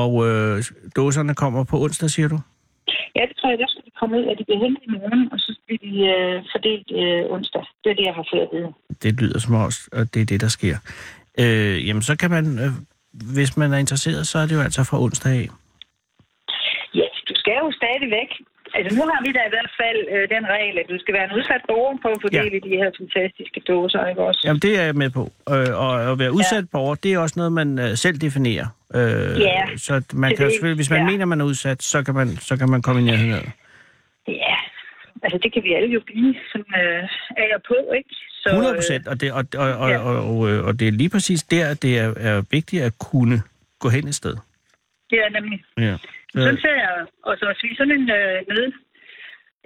[SPEAKER 5] Og øh, dåserne kommer på onsdag, siger du?
[SPEAKER 8] Ja, det tror jeg, der skal de komme ud, at de bliver hentet i morgen, og så bliver de øh, fordelt øh, onsdag. Det er det, jeg har fået at vide.
[SPEAKER 5] Det lyder som også, at det er det, der sker. Øh, jamen så kan man, øh, hvis man er interesseret, så er det jo altså fra onsdag af.
[SPEAKER 8] Ja, du skal jo stadigvæk. Altså nu har vi da i hvert fald øh, den regel, at du skal være en udsat borger på at fordele ja. de her fantastiske dåser, ikke også?
[SPEAKER 5] Jamen, det er jeg med på. Øh, og at være udsat ja. borger, det er også noget, man øh, selv definerer. Øh,
[SPEAKER 8] Ja,
[SPEAKER 5] Så man
[SPEAKER 8] det
[SPEAKER 5] kan jo
[SPEAKER 8] er-
[SPEAKER 5] selvfølgelig, hvis man ja.
[SPEAKER 8] ja.
[SPEAKER 5] mener, man er udsat, så kan man, så kan man komme i nærheden af det.
[SPEAKER 8] Ja, altså det kan vi alle jo blive sådan øh, af og på, ikke? Så, øh,
[SPEAKER 5] 100 procent, og det, og, og, og,
[SPEAKER 8] ja.
[SPEAKER 5] og, og, øh, og det er lige præcis der, at det er, er vigtigt at kunne gå hen et sted.
[SPEAKER 8] Øh, ja, nemlig.
[SPEAKER 5] Ja.
[SPEAKER 8] Sådan
[SPEAKER 5] Øh,
[SPEAKER 8] ser jeg, og så hvis vi sådan en øh, nød,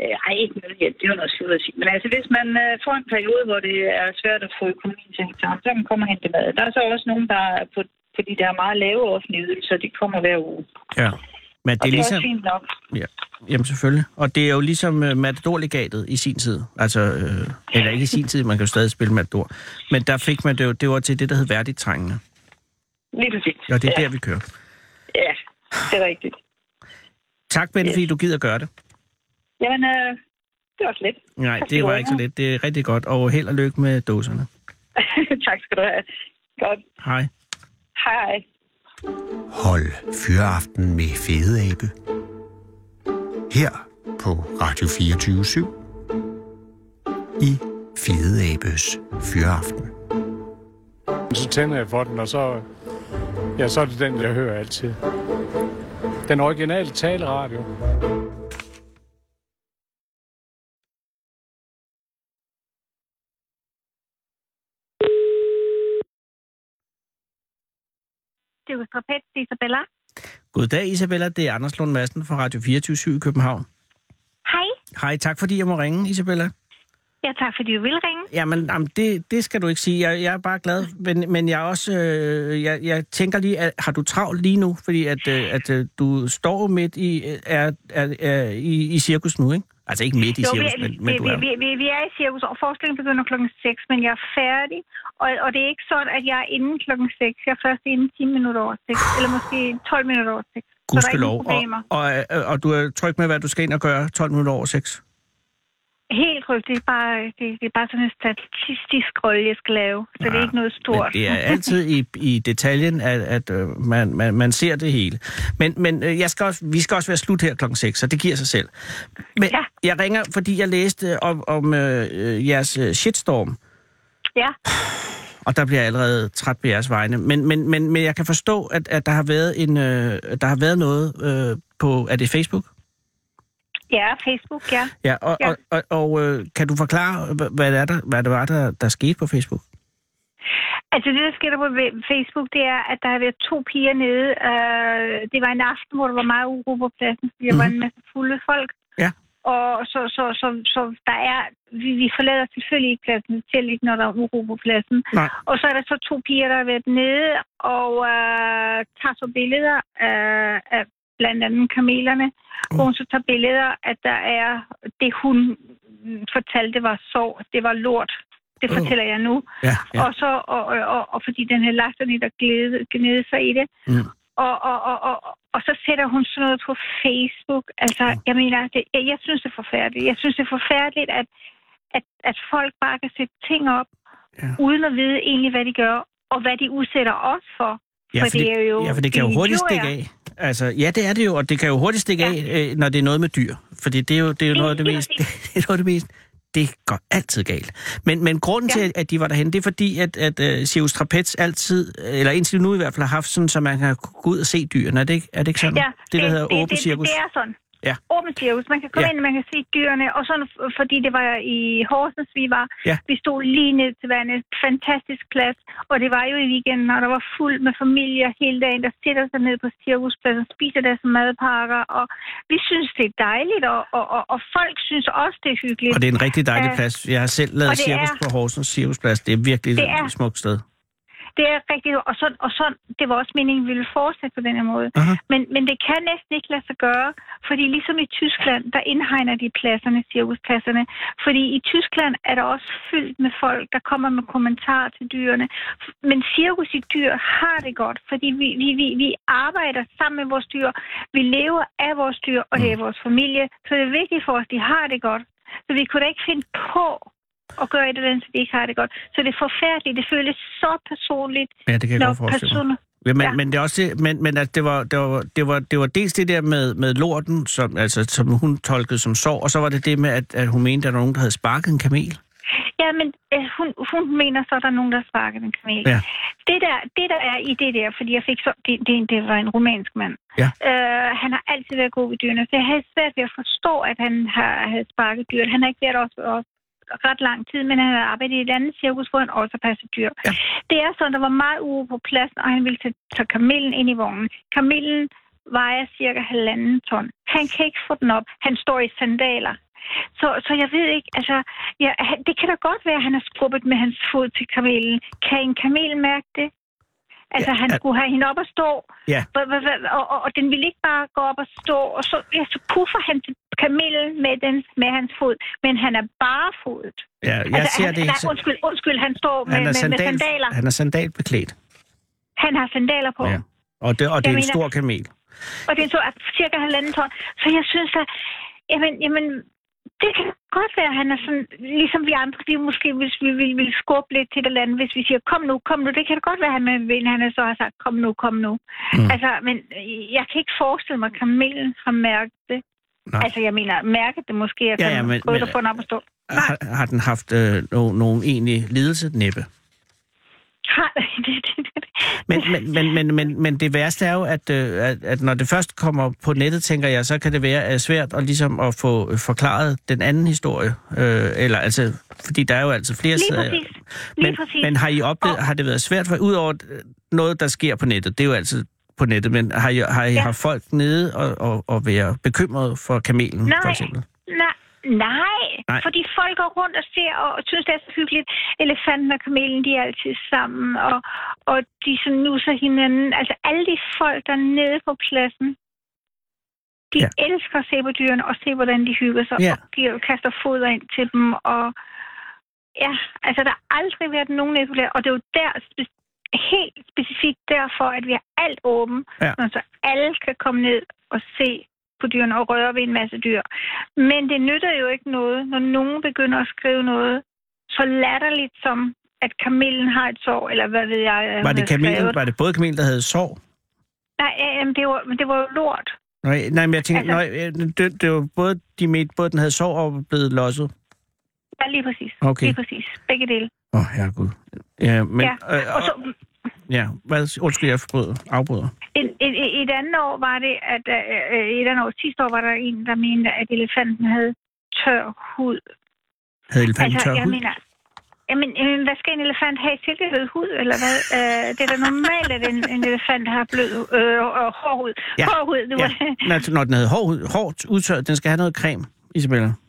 [SPEAKER 8] øh, ej, ikke nødhjælp, det er jo noget slut at sige, men altså hvis man øh, får en periode, hvor det er svært at få økonomien til at hænge sammen, så kan man komme og hente mad. Der er så også nogen, der er på, på de der meget lave offentlige ydelser, de kommer hver uge.
[SPEAKER 5] ja. Men det
[SPEAKER 9] Og
[SPEAKER 5] er
[SPEAKER 9] det er
[SPEAKER 5] ligesom...
[SPEAKER 9] også fint nok.
[SPEAKER 5] Ja, jamen selvfølgelig. Og det er jo ligesom uh, Matador-legatet i sin tid. Altså, øh, eller ikke i sin tid, man kan jo stadig spille Matador. Men der fik man det jo, det var til det, der hed værdigt trængende.
[SPEAKER 9] Lige præcis.
[SPEAKER 5] Og det er
[SPEAKER 9] ja,
[SPEAKER 5] der, vi kører.
[SPEAKER 9] ja, det er rigtigt.
[SPEAKER 5] Tak, Bente, fordi du gider gøre det.
[SPEAKER 9] Jamen, øh, det var slet.
[SPEAKER 5] Nej,
[SPEAKER 9] Tak,
[SPEAKER 5] det
[SPEAKER 9] du
[SPEAKER 5] var
[SPEAKER 9] ringer.
[SPEAKER 5] ikke så lidt. Det er rigtig godt. Og held og lykke med dåserne.
[SPEAKER 9] tak skal du have. Godt.
[SPEAKER 5] Hej.
[SPEAKER 9] Hej, hej.
[SPEAKER 3] Hold fyreaften med Fede Abe. Her på Radio 24 i Fede Abes Fyreaften.
[SPEAKER 7] Så tænder jeg for den, og så, ja, så er det den, jeg hører altid. Den originale taleradio.
[SPEAKER 8] Det var Strapet, Isabella.
[SPEAKER 5] Goddag, Isabella. Det er Anders Lund Madsen fra Radio 24 i København.
[SPEAKER 8] Hej.
[SPEAKER 5] Hej, tak fordi jeg må ringe, Isabella.
[SPEAKER 8] Ja, tak fordi du vil ringe.
[SPEAKER 5] Jamen, jamen det, det skal du ikke sige. Jeg, jeg er bare glad, men, men jeg er også... Øh, jeg, jeg tænker lige, at, har du travlt lige nu? Fordi at, øh, at øh, du står midt i, øh, er, er, er, i, i cirkus nu, ikke? Altså ikke midt i
[SPEAKER 8] vi,
[SPEAKER 5] cirkus,
[SPEAKER 8] er,
[SPEAKER 5] men, men
[SPEAKER 8] vi,
[SPEAKER 5] du
[SPEAKER 8] vi,
[SPEAKER 5] er...
[SPEAKER 8] vi, vi, vi er i cirkus, og forestillingen begynder klokken 6, men jeg er færdig. Og, og det er ikke sådan, at jeg er inden klokken 6. Jeg er først inden 10 minutter over 6, eller måske 12 minutter over 6. Så der er
[SPEAKER 5] gudskelov.
[SPEAKER 8] ingen problemer.
[SPEAKER 5] Og, og, øh, og du er tryg med, hvad du skal ind og gøre 12 minutter over 6?
[SPEAKER 8] Helt rygt. Det er bare, det, det er bare sådan en statistisk rolle, jeg skal lave. Så ja, det er ikke noget
[SPEAKER 5] Ah, Men
[SPEAKER 8] stort.
[SPEAKER 5] det er altid i, i detaljen, at, at øh, man, man, man ser det hele. Men, men øh, jeg skal også, vi skal også være slut her klokken 6, så det giver sig selv. Men
[SPEAKER 8] Ja.
[SPEAKER 5] jeg ringer, fordi jeg læste om, om øh, øh, jeres øh, shitstorm,
[SPEAKER 8] Ja,
[SPEAKER 5] og der bliver jeg allerede træt på jeres vegne. Men, men, men, men jeg kan forstå, at, at der, har været en, øh, der har været noget øh, på... Er det Facebook?
[SPEAKER 8] ja Facebook, ja.
[SPEAKER 5] Ja, og,
[SPEAKER 8] Ja.
[SPEAKER 5] og, og, og øh, kan du forklare, hva- hvad det, er, der, hvad det var, der, der skete på Facebook?
[SPEAKER 8] Altså det, der sker der på ve- Facebook, det er, at der har været to piger nede. Øh, det var en aften, hvor der var meget uro på pladsen, fordi der var en masse fulde folk.
[SPEAKER 5] Ja.
[SPEAKER 8] Og så, så, så, så der er, vi, vi forlader selvfølgelig ikke pladsen, selv ikke når der er uro på pladsen.
[SPEAKER 5] Nej.
[SPEAKER 8] Og så er der så to piger, der har været nede og øh, tager så billeder af, af blandt andet kamelerne, hvor hun så tager billeder, at der er det, hun mm, fortalte var sorg, det var lort. Det
[SPEAKER 5] Åh.
[SPEAKER 8] fortæller jeg nu.
[SPEAKER 5] Ja,
[SPEAKER 8] Ja.
[SPEAKER 5] ja.
[SPEAKER 8] Og, så, og, og, og, og fordi den her lasterne, der gnede, gnede sig i det.
[SPEAKER 5] Mm.
[SPEAKER 8] Og, og, og, og, og så sætter hun sådan noget på Facebook. Altså, jeg mener, det, jeg, jeg synes, det er forfærdeligt. Jeg synes, det er forfærdeligt, at, at, at folk bare kan sætte ting op,
[SPEAKER 5] Ja.
[SPEAKER 8] ja. uden at vide egentlig, hvad de gør, og hvad de udsætter os for.
[SPEAKER 5] Ja,
[SPEAKER 8] for
[SPEAKER 5] for det,
[SPEAKER 8] det er jo-
[SPEAKER 5] ja, for det kan
[SPEAKER 8] det
[SPEAKER 5] jo
[SPEAKER 8] er
[SPEAKER 5] hurtigt
[SPEAKER 8] idioter.
[SPEAKER 5] stikke af. Altså, ja, det er det jo, og det kan jo hurtigt stikke ja.
[SPEAKER 8] Ja.
[SPEAKER 5] af, øh, når det er noget med dyr. Fordi det er jo, det er jo
[SPEAKER 8] Det-
[SPEAKER 5] noget af det
[SPEAKER 8] lige
[SPEAKER 5] mest... Det er
[SPEAKER 8] præcis.
[SPEAKER 5] noget af det mest det går altid galt. Men, men grunden ja.
[SPEAKER 8] Ja.
[SPEAKER 5] til, at de var derhen, det er fordi, at, at uh, Sirius Trapez altid, eller indtil nu i hvert fald, har haft sådan, så man kan gå ud og se dyrene. Er det ikke, er det ikke sådan?
[SPEAKER 8] Ja,
[SPEAKER 5] det, der hedder åben
[SPEAKER 8] det,
[SPEAKER 5] cirkus.
[SPEAKER 8] Det, det er sådan.
[SPEAKER 5] Ja.
[SPEAKER 8] Åben cirkus. Man kan komme
[SPEAKER 5] Ja.
[SPEAKER 8] ja. ind, man kan se dyrene. Og sådan, f- fordi det var i Horsens, vi var.
[SPEAKER 5] Ja.
[SPEAKER 8] Vi stod lige ned til vandet. Fantastisk plads. Og det var jo i weekenden, og der var fuldt med familier hele dagen, der sætter sig ned på cirkuspladsen, spiser deres madpakker. Og vi synes, det er dejligt, og, og, og, og folk synes også, det er hyggeligt.
[SPEAKER 5] Og det er en rigtig dejlig
[SPEAKER 8] Ja.
[SPEAKER 5] plads. Jeg har selv
[SPEAKER 8] Og
[SPEAKER 5] lavet
[SPEAKER 8] det
[SPEAKER 5] cirkus
[SPEAKER 8] er-
[SPEAKER 5] på Horsens Cirkusplads. Det er virkelig
[SPEAKER 8] Det er-
[SPEAKER 5] et smukt sted.
[SPEAKER 8] Det er rigtigt, og sådan, og sådan, det var også meningen, at vi ville fortsætte på den her måde.
[SPEAKER 5] Aha.
[SPEAKER 8] Men, men det kan næsten ikke lade sig gøre, fordi ligesom i Tyskland, der indhegner de pladserne, cirkuspladserne. Fordi i Tyskland er der også fyldt med folk, der kommer med kommentarer til dyrene. Men cirkus i dyr har det godt, fordi vi, vi, vi, vi arbejder sammen med vores dyr. Vi lever af vores dyr, og det er vores familie. Så det er vigtigt for os, at de har det godt. Så vi kunne da ikke finde på at gøre et eller andet, så de ikke har det godt. Så det er forfærdeligt. Det føles så personligt,
[SPEAKER 5] Ja, det kan jeg
[SPEAKER 8] når
[SPEAKER 5] godt forestille mig.
[SPEAKER 8] personer...
[SPEAKER 5] Ja, men, ja.
[SPEAKER 8] Ja.
[SPEAKER 5] men det er også det, men, men altså, det, var, det, var, det, var, det var dels det der med, med lorten, som, altså, som hun tolkede som sorg, og så var det det med, at, at hun mente, at der var nogen, der havde sparket en kamel.
[SPEAKER 8] Ja, men øh, hun, hun mener så, at der er nogen, der har sparket en kamel.
[SPEAKER 5] Ja.
[SPEAKER 8] Det, der, det, der er i det der, fordi jeg fik så... Det, det, det var en rumænsk mand.
[SPEAKER 5] Ja.
[SPEAKER 8] Øh, han har altid været god ved dyrene, så jeg havde svært ved at forstå, at han har, havde sparket dyr. Han har ikke været også, også ret lang tid, men han har arbejdet i et andet cirkus, hvor han også har passet dyr.
[SPEAKER 5] Ja.
[SPEAKER 8] Det er sådan, der var meget uro på pladsen, og han ville tage, tage kamelen ind i vognen. Kamelen vejer cirka halvanden ton. Han kan ikke få den op. Han står i sandaler. Så, så jeg ved ikke, altså, ja, han- det kan da godt være, at han har skrubbet med hans fod til kamelen. Kan en kamel mærke det? Altså, ja, han
[SPEAKER 5] ja.
[SPEAKER 8] skulle have hende op at stå,
[SPEAKER 5] Ja.
[SPEAKER 8] Hva- hva- hva- og, og, og den ville ikke bare gå op og stå, og så, ja, så puffer han til kamelen med, den, med hans fod, men han er barefodet.
[SPEAKER 5] Ja, jeg
[SPEAKER 8] altså,
[SPEAKER 5] ser
[SPEAKER 8] han,
[SPEAKER 5] det
[SPEAKER 8] nej,
[SPEAKER 5] ikke.
[SPEAKER 8] undskyld, undskyld, han står med,
[SPEAKER 5] Han er,
[SPEAKER 8] med, med
[SPEAKER 5] sandal,
[SPEAKER 8] sandaler.
[SPEAKER 5] han er sandalbeklædt,
[SPEAKER 8] Han har sandaler på.
[SPEAKER 5] ja. og det, og det er
[SPEAKER 8] Jeg
[SPEAKER 5] en
[SPEAKER 8] mener-
[SPEAKER 5] stor kamel.
[SPEAKER 8] Og det er så at cirka halvanden ton. Så jeg synes, at jamen, jamen, det kan godt være, at han er sådan, ligesom vi andre, vi måske, hvis vi ville, ville skubbe lidt til det eller andet, hvis vi siger, kom nu, kom nu, det kan da godt være, at han vil, han er så har sagt, kom nu, kom nu. Mm. Altså, men jeg kan ikke forestille mig, at kamelen har mærket det.
[SPEAKER 5] Nej.
[SPEAKER 8] Nej. Altså, jeg mener, mærket det måske, at
[SPEAKER 5] Ja,
[SPEAKER 8] ja,
[SPEAKER 5] ja,
[SPEAKER 8] ja,
[SPEAKER 5] men-
[SPEAKER 8] men, prøvet
[SPEAKER 5] men-
[SPEAKER 8] at få den op at stå. Nej,
[SPEAKER 5] Har, har den haft øh, no, nogen egentlig lidelse? Næppe.
[SPEAKER 8] nej, det, det, det, det.
[SPEAKER 5] Men, men, men, men, men, men det værste er jo, at, øh, at, at når det først kommer på nettet, tænker jeg, så kan det være øh, svært at, ligesom at få øh, forklaret den anden historie. Øh, eller, altså, fordi der er jo altså flere
[SPEAKER 8] Lige
[SPEAKER 5] sider.
[SPEAKER 8] præcis. Lige
[SPEAKER 5] Men,
[SPEAKER 8] præcis.
[SPEAKER 5] men har I oplevet,
[SPEAKER 8] Og-
[SPEAKER 5] har det været svært for, udover øh, noget, der sker på nettet, det er jo altid på nettet, men har I, har I ja.
[SPEAKER 8] Ja.
[SPEAKER 5] haft folk nede og, og, og være bekymret for kamelen, for
[SPEAKER 8] Nej.
[SPEAKER 5] eksempel?
[SPEAKER 8] Nej, nej,
[SPEAKER 5] Nej.
[SPEAKER 8] nej, fordi folk går rundt og ser og synes, det er så hyggeligt. Elefanten og kamelen, de er altid sammen, og, og de sådan nusser hinanden. Altså alle de folk, der er nede på pladsen, de
[SPEAKER 5] Ja.
[SPEAKER 8] ja. elsker at se på dyrene og se, hvordan de hygger sig,
[SPEAKER 5] Ja.
[SPEAKER 8] ja. og giver, kaster foder ind til dem. Og ja, altså der har aldrig været nogen etableret, og det er jo der spe- helt specifikt derfor, at vi har alt åbent,
[SPEAKER 5] Ja.
[SPEAKER 8] sådan så alle kan komme ned og se på dyrene og røre ved en masse dyr. Men det nytter jo ikke noget, når nogen begynder at skrive noget så latterligt som, at kamelen har et sår, eller hvad ved jeg. at hun
[SPEAKER 5] Var det,
[SPEAKER 8] har
[SPEAKER 5] kamelen,
[SPEAKER 8] skrevet.
[SPEAKER 5] var det både kamelen, der havde sorg?
[SPEAKER 8] Nej, ja, jamen, det, var, men det var jo lort.
[SPEAKER 5] Nej, nej, men jeg tænker,
[SPEAKER 8] Altså-
[SPEAKER 5] altså, nej, øh, det, det var både, de mente, både den havde sorg og blev losset.
[SPEAKER 8] Ja, lige præcis.
[SPEAKER 5] Okay.
[SPEAKER 8] Lige præcis. Begge dele.
[SPEAKER 5] Åh, oh, herregud. Ja, men...
[SPEAKER 8] Ja,
[SPEAKER 5] Øh,
[SPEAKER 8] Og
[SPEAKER 5] og,
[SPEAKER 8] så,
[SPEAKER 5] ja, hvad, undskyld, jeg forbryder, afbryder.
[SPEAKER 8] et, et, et- et andet år var det, at øh, øh, et andet år, sidste år var der en, der mente, at elefanten havde tør hud.
[SPEAKER 5] Havde elefanten altså, tør
[SPEAKER 8] jeg
[SPEAKER 5] hud?
[SPEAKER 8] mener, jamen, jamen, hvad skal en elefant have? Silkehød hud, eller hvad? Øh, det er da normalt, at en, en elefant har blød øh, øh, hård hud.
[SPEAKER 5] Ja.
[SPEAKER 8] Ja. Hård hud, det var ja.
[SPEAKER 5] Ja, når, når den havde hård, hud- hårdt udtørret, den skal have noget creme, Isabella.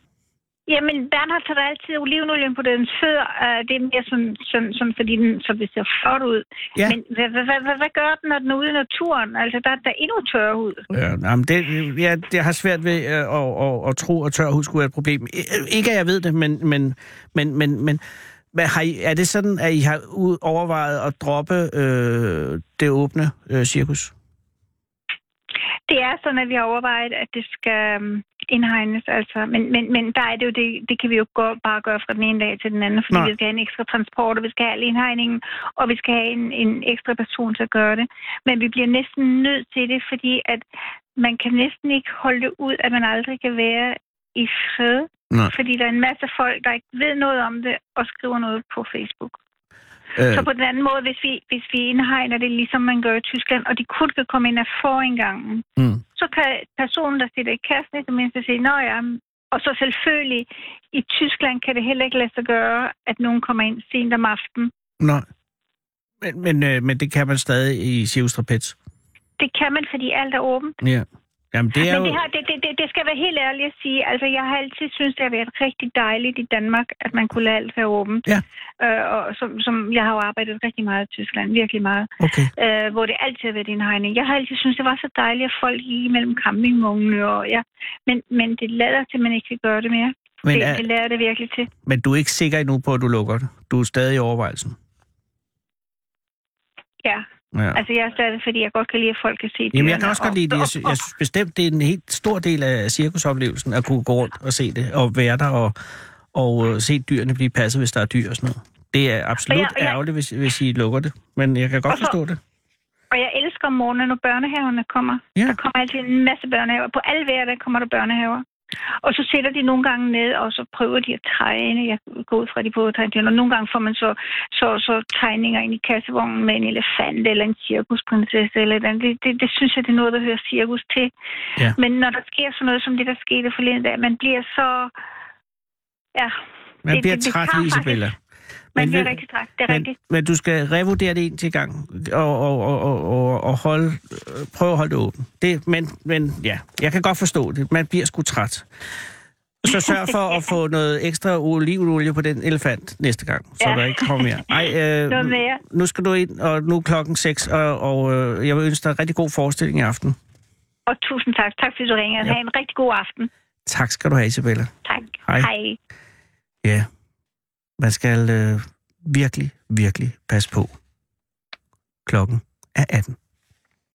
[SPEAKER 8] Jamen, Bernhard tager da altid olivenolien på dens fødder. Øh, det er mere sådan, sådan, sådan fordi den, så det ser flot ud.
[SPEAKER 5] Ja.
[SPEAKER 8] Ja. Men hvad, hvad, hvad, hvad, hvad gør den, når den er ude i naturen? Altså, der, der er endnu tørre hud.
[SPEAKER 5] Ja, nej, men det, ja, det har svært ved øh, at, at, at tro, at tør hud skulle være et problem. I- øh, Ikke at jeg ved det, men, men, men, men, men hvad har I, er det sådan, at I har u- overvejet at droppe øh, det åbne øh, cirkus?
[SPEAKER 8] Det er sådan, at vi har overvejet, at det skal øhm, indhegnes, altså. Men, men, men der er det jo det, det kan vi jo gå, bare gøre fra den ene dag til den anden, fordi
[SPEAKER 5] Nej.
[SPEAKER 8] Nej. vi skal have en ekstra transport, og vi skal have al indhegningen, og vi skal have en, en ekstra person til at gøre det. Men vi bliver næsten nødt til det, fordi at man kan næsten ikke holde det ud, at man aldrig kan være i fred,
[SPEAKER 5] Nej.
[SPEAKER 8] fordi der er en masse folk, der ikke ved noget om det, og skriver noget på Facebook.
[SPEAKER 5] Øh,
[SPEAKER 8] Så på den anden måde, hvis vi, hvis vi indhegner det, ligesom man gør i Tyskland, og de kun kan komme ind af forindgangen,
[SPEAKER 5] Mm.
[SPEAKER 8] så kan personen, der sidder i kassen, i det mindste sige, nå ja, og så selvfølgelig, i Tyskland kan det heller ikke lade sig gøre, at nogen kommer ind sent om aftenen.
[SPEAKER 5] nej. Men, men, øh, men det kan man stadig i Cirkus Trapez.
[SPEAKER 8] Det kan man, fordi alt er åbent.
[SPEAKER 5] Ja. Jamen, det er
[SPEAKER 8] Men
[SPEAKER 5] jo...
[SPEAKER 8] det, her, det, det, det, det skal være helt ærligt at sige. Altså, jeg har altid syntes, det har været rigtig dejligt i Danmark, at man kunne lade alt være åbent.
[SPEAKER 5] Ja.
[SPEAKER 8] Øh, og som, som jeg har jo arbejdet rigtig meget i Tyskland, virkelig meget.
[SPEAKER 5] Okay.
[SPEAKER 8] øh, hvor det altid har været indhegning. Jeg har altid syntes, det var så dejligt, at folk gik imellem campingvognene. Og, ja. men, men det lader til, at man ikke kan gøre det mere.
[SPEAKER 5] Men,
[SPEAKER 8] det,
[SPEAKER 5] er,
[SPEAKER 8] det lader det virkelig til.
[SPEAKER 5] men du er ikke sikker endnu på, at du lukker det. Du er stadig i overvejelsen.
[SPEAKER 8] Ja.
[SPEAKER 5] Ja.
[SPEAKER 8] Altså, jeg er stadig, fordi jeg godt kan lide, at folk kan se det.
[SPEAKER 5] Jamen, jeg kan også godt lide det. Jeg, sy- jeg synes bestemt, det er en helt stor del af cirkusoplevelsen at kunne gå rundt og se det, og være der og, og øh, se dyrene blive passet, hvis der er dyr og sådan noget. Det er absolut
[SPEAKER 8] Og jeg- og jeg-
[SPEAKER 5] ærgerligt, hvis, hvis I lukker det, men jeg kan godt
[SPEAKER 8] Og så-
[SPEAKER 5] forstå det.
[SPEAKER 8] Og jeg elsker om morgenen, når børnehaverne kommer.
[SPEAKER 5] Ja.
[SPEAKER 8] Der kommer altid en masse børnehaver. På alle hverdage kommer der børnehaver. Og så sætter de nogle gange ned, og så prøver de at tegne. Jeg går ud fra, at de prøver at tegne dyr. Og nogle gange får man så, så, så tegninger ind i kassevognen med en elefant eller en cirkusprinsesse. Eller et eller andet. Det, det, det, synes jeg, det er noget, der hører cirkus til.
[SPEAKER 5] Ja.
[SPEAKER 8] Men når der sker sådan noget, som det, der skete forleden dag, man bliver så... Ja,
[SPEAKER 5] Man
[SPEAKER 8] det-
[SPEAKER 5] bliver
[SPEAKER 8] det- det
[SPEAKER 5] træt,
[SPEAKER 8] tager faktisk-
[SPEAKER 5] Isabella.
[SPEAKER 8] man
[SPEAKER 5] Men
[SPEAKER 8] bliver
[SPEAKER 5] ved-
[SPEAKER 8] rigtig træt. Det er
[SPEAKER 5] Men,
[SPEAKER 8] rigtigt.
[SPEAKER 5] men du skal revurdere det en til gang, og, og, og, og- og, og holde, øh, prøve at holde det åbent. Det, men, men ja, jeg kan godt forstå det. Man bliver sgu træt. Så sørg for at få noget ekstra olivenolie på den elefant næste gang, så
[SPEAKER 8] Ja.
[SPEAKER 5] der ikke kommer mere. Ej, øh,
[SPEAKER 8] Noget mere.
[SPEAKER 5] nu skal du ind, og nu er klokken 6, og, og øh, jeg vil ønske dig en rigtig god forestilling i aften.
[SPEAKER 8] Og tusind tak. Tak fordi du ringede.
[SPEAKER 5] Ja.
[SPEAKER 8] Ja. Ha' en rigtig god aften.
[SPEAKER 5] Tak skal du have, Isabella.
[SPEAKER 8] Tak.
[SPEAKER 5] Hej.
[SPEAKER 8] Hej.
[SPEAKER 5] Ja, man skal øh, virkelig, virkelig passe på. Klokken er 18.